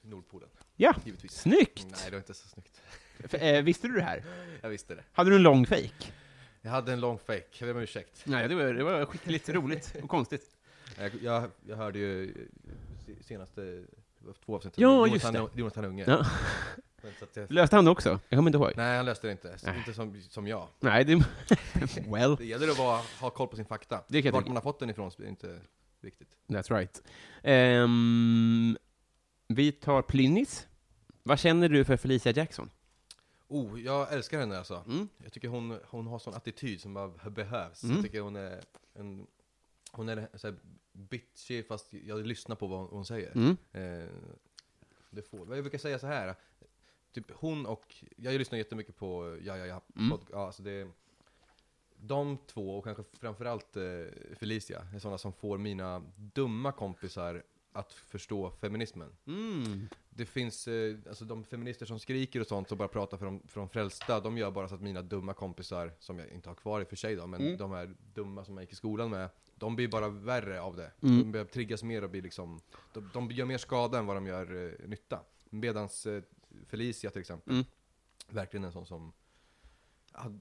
Nordpolen,
Ja,
givetvis. Mm,
snyggt!
Nej, det var inte så snyggt.
F- eh, visste du det här?
Jag visste det.
Hade du en lång fejk?
Jag hade en lång fake, jag ber om ursäkt.
Nej, det var, det var skickligt roligt och konstigt.
Jag, jag, jag hörde ju eh, senaste, det var två avsnitt
Ja,
Jonathan-
just det.
Jonathan Unge.
Ja.
Men så att jag,
Löste han det också? Jag kommer inte ihåg. Nej,
nej, han löste det inte. Så
Nej.
Inte som, som jag.
det... well,
Det gäller att vara, ha koll på sin fakta.
Det kan jag
Vart
tänka.
man har fått den ifrån så är det inte viktigt.
that's right. Ehm, vi tar Plynnis. Vad känner du för Felicia Jackson?
Oh, jag älskar henne alltså.
Mm.
Jag tycker hon, hon har sån attityd som bara behövs.
Mm.
Jag tycker hon är en, hon är så här bitchy fast jag lyssnar på vad hon, hon säger.
Mm.
Eh, det får, jag brukar säga så här, typ hon och, jag lyssnar jättemycket på Ja Ja Ja,
Mm.
pod, ja alltså det, de två och kanske framförallt eh, Felicia är sådana som får mina dumma kompisar att förstå feminismen.
Mm.
Det finns, eh, alltså de feminister som skriker och sånt och bara pratar för de, för de frälsta, de gör bara så att mina dumma kompisar, som jag inte har kvar i och för sig då, men
Mm.
de här dumma som jag gick i skolan med, de blir bara värre av det.
Mm.
De börjar triggas mer och blir liksom, de, de gör mer skada än vad de gör eh, nytta. Medans eh, Felicia till exempel,
Mm.
verkligen en sån som, ja,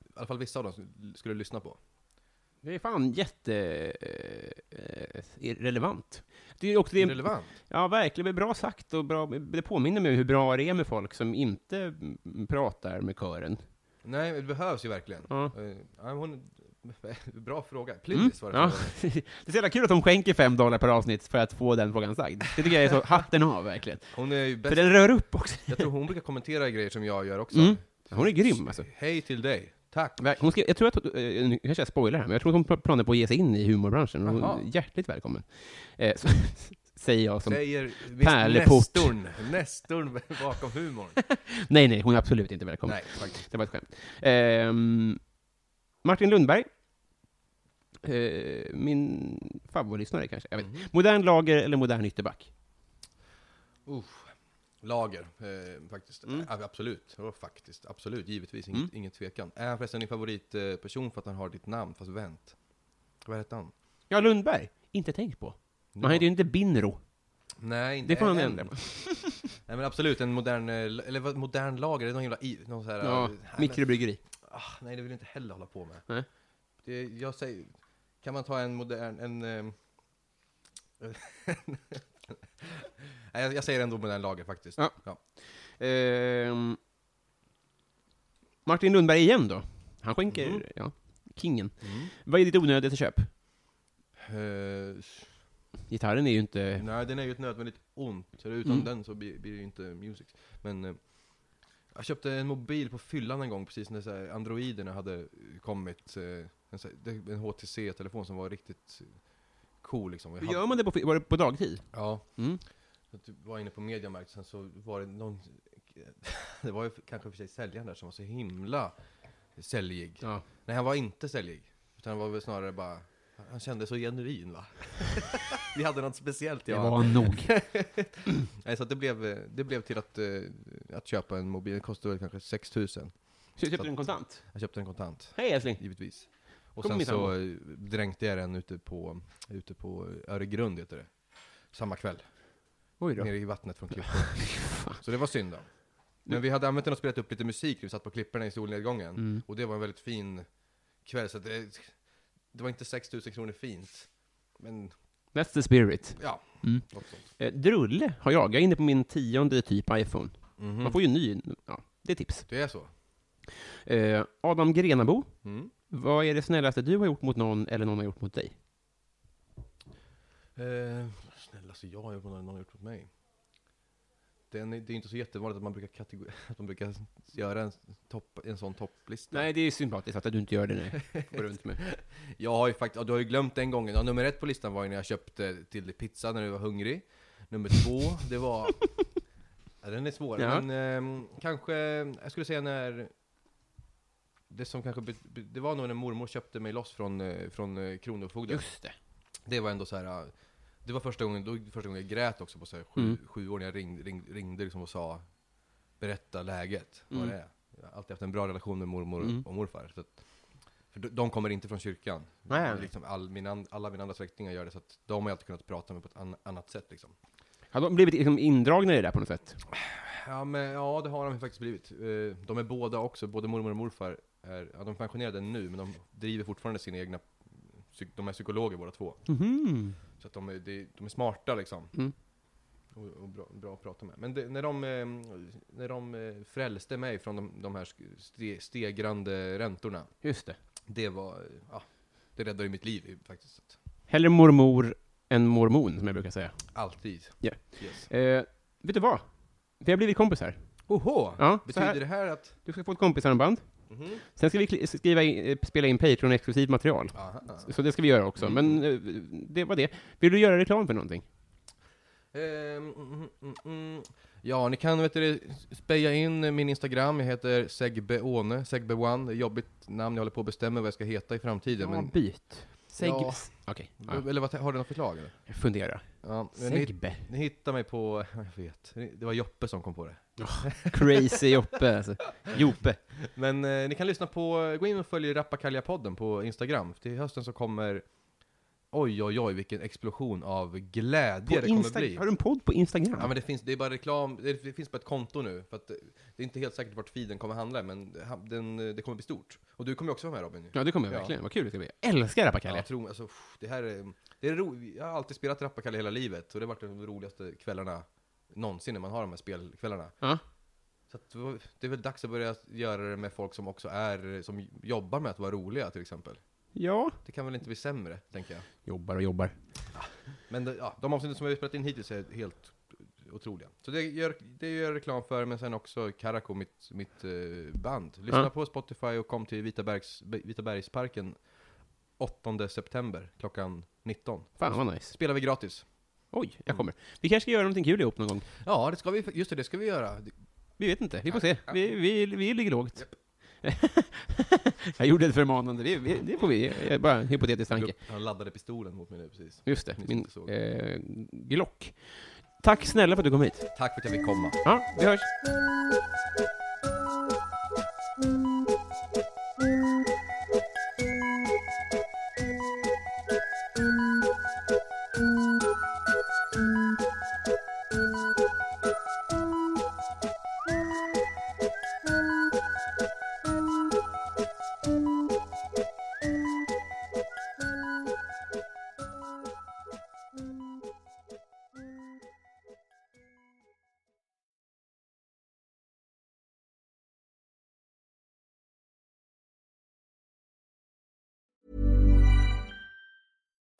i alla fall vissa av dem skulle- skulle lyssna på.
Det är fan jätte... Eh, eh, relevant. Det är också det...
Relevant.
Ja, verkligen. Bra sagt. Och bra, det påminner mig om hur bra det är med folk som inte mm, pratar med kören.
Nej, det behövs ju verkligen.
Ja.
Eh, ja, hon, bra fråga. Plynnis var det
Mm. Ja.
frågan.
det är så jävla kul att de skänker fem dollar per avsnitt för att få den frågan sagd. Det tycker jag är så hatten av, verkligen.
Hon är ju bäst
För den rör upp också.
Jag tror hon brukar kommentera grejer som jag gör också.
Mm. Hon är grym, alltså.
Hej till dig. Tack.
Ver- Hon skrev, jag tror att, eh, nu kanske jag spoilar här, men jag tror att hon pl- planerar på att ge sig in i humorbranschen. Hon
Jaha.
är hjärtligt välkommen. Eh, så, säger jag som...
Säger visst
pärleport.
Nestorn. Nestorn bakom humorn.
Nej, nej, hon är absolut inte välkommen.
Nej, faktiskt.
Det var ett skämt. Ehm, Martin Lundberg. Eh, min favoritlyssnare kanske. Jag vet.
Mm-hmm.
Modern lager eller modern ytterback?
Uff. Lager, eh, faktiskt.
Mm.
Ja, Absolut. Ja, faktiskt. Absolut, givetvis. Inget, inget tvekan. Är han förresten din favoritperson för att han har ditt namn, fast vänt? Vad heter han?
Ja, Lundberg. Inte tänkt på. Men han heter ju inte Binro.
Nej, inte
Det får han
än.
ändra på.
Nej, men absolut. En modern, eh, eller vad, modern lager, det är någon jävla i, någon så här,
Ja,
eh, nej, men-
mikrobryggeri.
Ah, nej, det vill jag inte heller hålla på med.
Nej.
Det, jag säger, kan man ta en modern, en... ehm, nej, jag, jag säger ändå modern lager faktiskt.
Ja. Ehm, Martin Lundberg igen då. Han skänker, ja. kingen.
Mm.
Vad är ditt onödiga köp?
Eh,
Gitarren är ju inte...
nej, den är ju ett nödvändigt ont. Så Utan
Mm.
den så blir, blir det ju inte music. Men eh, jag köpte en mobil på fyllan en gång, precis när så här, androiderna hade kommit. Eh, en, så här, det- en HTC-telefon som var riktigt cool liksom. Jag
Hur
hade-
gör man det på, var det på dagtid?
Ja.
Mm.
Jag typ var inne på Mediamarkt, sen så var det någon... Det var ju kanske för sig säljaren där som var så himla säljig.
Ja.
Nej, han var inte säljig. Utan han var väl snarare bara... Han kände så genuin va? Vi hade något speciellt
Det
ja.
var nog.
Nej, så att det blev, eh, det blev till att, eh, att köpa en mobil. Den kostade väl kanske 6 000.
Så jag köpte den kontant.
Jag köpte den kontant,
Hej älskling!
givetvis. Och
Kom
sen
min
så eh, dränkte jag den ute på, ute på Öregrund, heter det. Samma kväll.
Oj
Nere i vattnet från klipporna. så det var synd då. Men vi hade använt den och spelat upp lite musik, vi satt på klipporna i solnedgången.
Mm.
Och det var en väldigt fin kväll, så att det, det var inte 6000 kronor fint. Men
That's the spirit.
ja,
Mm.
något sånt.
Eh, drulle har jag. Jag är inne på min tionde typ iPhone. Man får ju en ny. Ja, det är tips.
Mhm. Det är så.
Eh, Adam Grenabo,
Mm.
vad är det snällaste du har gjort mot någon eller någon har gjort mot dig?
Eh, snälla, så jag har gjort någon, någon har gjort mot mig. Den är, det är inte så jättevanligt att man brukar, kategori- att man brukar göra en, topp, en sån topplista.
Nej, det är sympatiskt att du inte gör det nu. Går runt med.
Jag har ju faktiskt, ja, du har ju glömt den gången. Ja, nummer ett på listan var ju när jag köpte till dig pizza när du var hungrig. Nummer två, det var... Ja, den är svår,
Ja.
men ehm, kanske, jag skulle säga när... Det som kanske, be, be, det var nog när mormor köpte mig loss från, eh, från eh, Kronofogden.
Just det.
Det var ändå så här. eh, Det var första gången, då, första gången jag grät också på så här, sju,
Mm.
sju år, när jag ring, ring, ringde liksom och sa Berätta läget, vad
Mm.
det är. Jag har alltid haft en bra relation med mormor
Mm.
och morfar. Så att, för de, de kommer inte från kyrkan.
Nej.
Liksom all, min, an- alla mina andra släktingar gör det, så att de har jag alltid kunnat prata med på ett an, annat sätt. Liksom.
Har de blivit liksom indragna i det där på något sätt?
Ja, men, ja, det har de ju faktiskt blivit. Eh, De är båda också, både mormor och morfar, är, ja, de är pensionerade nu, men de driver fortfarande sina egna, psyk- de är psykologer båda två.
Mhm.
Så att de är, de, de är smarta liksom.
Mm.
Och, och bra, bra att prata med. Men det, när de, eh, när de eh, frälste mig från de, de här sk- ste, stegrande räntorna,
Just det.
det var, eh, ja, det räddade ju mitt liv eh, faktiskt. Så att,
Hellre mormor än mormon, som jag brukar säga.
Alltid.
Ja.
Yes.
Eh, vet du vad? Vi har blivit kompisar.
Oho!
Ja, så
Betyder
här.
det här att...
Du ska få ett kompisarmband.
Mhm.
Sen ska vi kli- skriva in, eh, spela in Patreon-exklusivt material.
Aha.
Så det ska vi göra
Mm.
också, men eh, det var det. Vill du göra reklam för någonting?
Ehm, mm, mm, mm. Ja, ni kan vet du, speja in min Instagram, jag heter segbeone, segbeone, det är ett jobbigt namn, jag håller på att bestämma vad jag ska heta i framtiden. men,
byt. Seg...
Ja.
Okej, ja.
Eller vad, har du något förslag? Eller?
fundera.
Ja, men ni,
Segbe.
ni hittar mig på, jag vet, det var Joppe som kom på det.
Crazy Joppe, alltså. Joppe.
Men eh, ni kan lyssna på, gå in och följ Rappakalja-podden på Instagram. Till hösten så kommer, oj oj oj vilken explosion av glädje det kommer bli.
Har du en podd på Instagram?
Ja men det finns, det är bara reklam, det finns bara ett konto nu. För att det det är inte helt säkert vart feeden kommer handla, men den, det kommer bli stort. Och du kommer ju också vara med Robin ju.
Ja, det kommer jag
Ja.
verkligen. Vad kul det ska bli. Jag älskar Rappakalja.
Jag tror, alltså, pff, det här är, det är ro, jag har alltid spelat Rappakalja hela livet, och det har varit de roligaste kvällarna någonsin när man har de här spelkvällarna.
Ja.
Så att, det var- det är väl dags att börja göra det med folk som också är, som jobbar med att vara roliga till exempel.
ja.
Det kan väl inte bli sämre, tänker jag.
Jobbar och jobbar.
Men det- ja, de avsnitt som vi har spelat in hittills är helt otroliga. Så det gör, det gör jag reklam för, men sen också Karako, mitt, mitt eh, band. Lyssna
Ja.
på Spotify och kom till Vitabergs, Vitabergsparken 8 september klockan 19.
Fan vad nice.
Spelar vi gratis.
Oj, jag kommer. Vi kanske ska göra någonting kul ihop någon gång.
Ja, det ska vi, just det, det ska vi göra. Det-
Vi vet inte, vi får se. Vi, vi, vi ligger lågt. jag gjorde ett förmanande, vi, vi, det får vi, eh, bara en hypotetisk tanke.
Han laddade pistolen mot mig nu precis.
Just det,
Ni som
min
inte såg.
eh, Glock. Tack snälla för att du kom hit.
Tack för att jag fick komma.
Ja, vi hörs.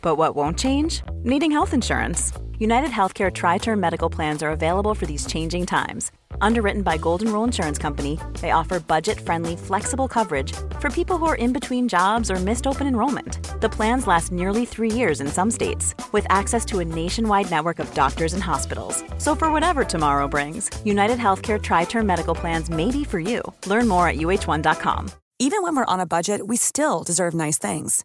But what won't change? Needing health insurance. United Healthcare Tri Term Medical Plans are available for these changing times. Underwritten by Golden Rule Insurance Company, they offer budget friendly, flexible coverage for people who are in between jobs or missed open enrollment. The plans last nearly three years in some states, with access to a nationwide network of doctors and hospitals. So, for whatever tomorrow brings, United Healthcare Tri Term Medical Plans may be for you. Learn more at uh1.com.
Even when we're on a budget, we still deserve nice things.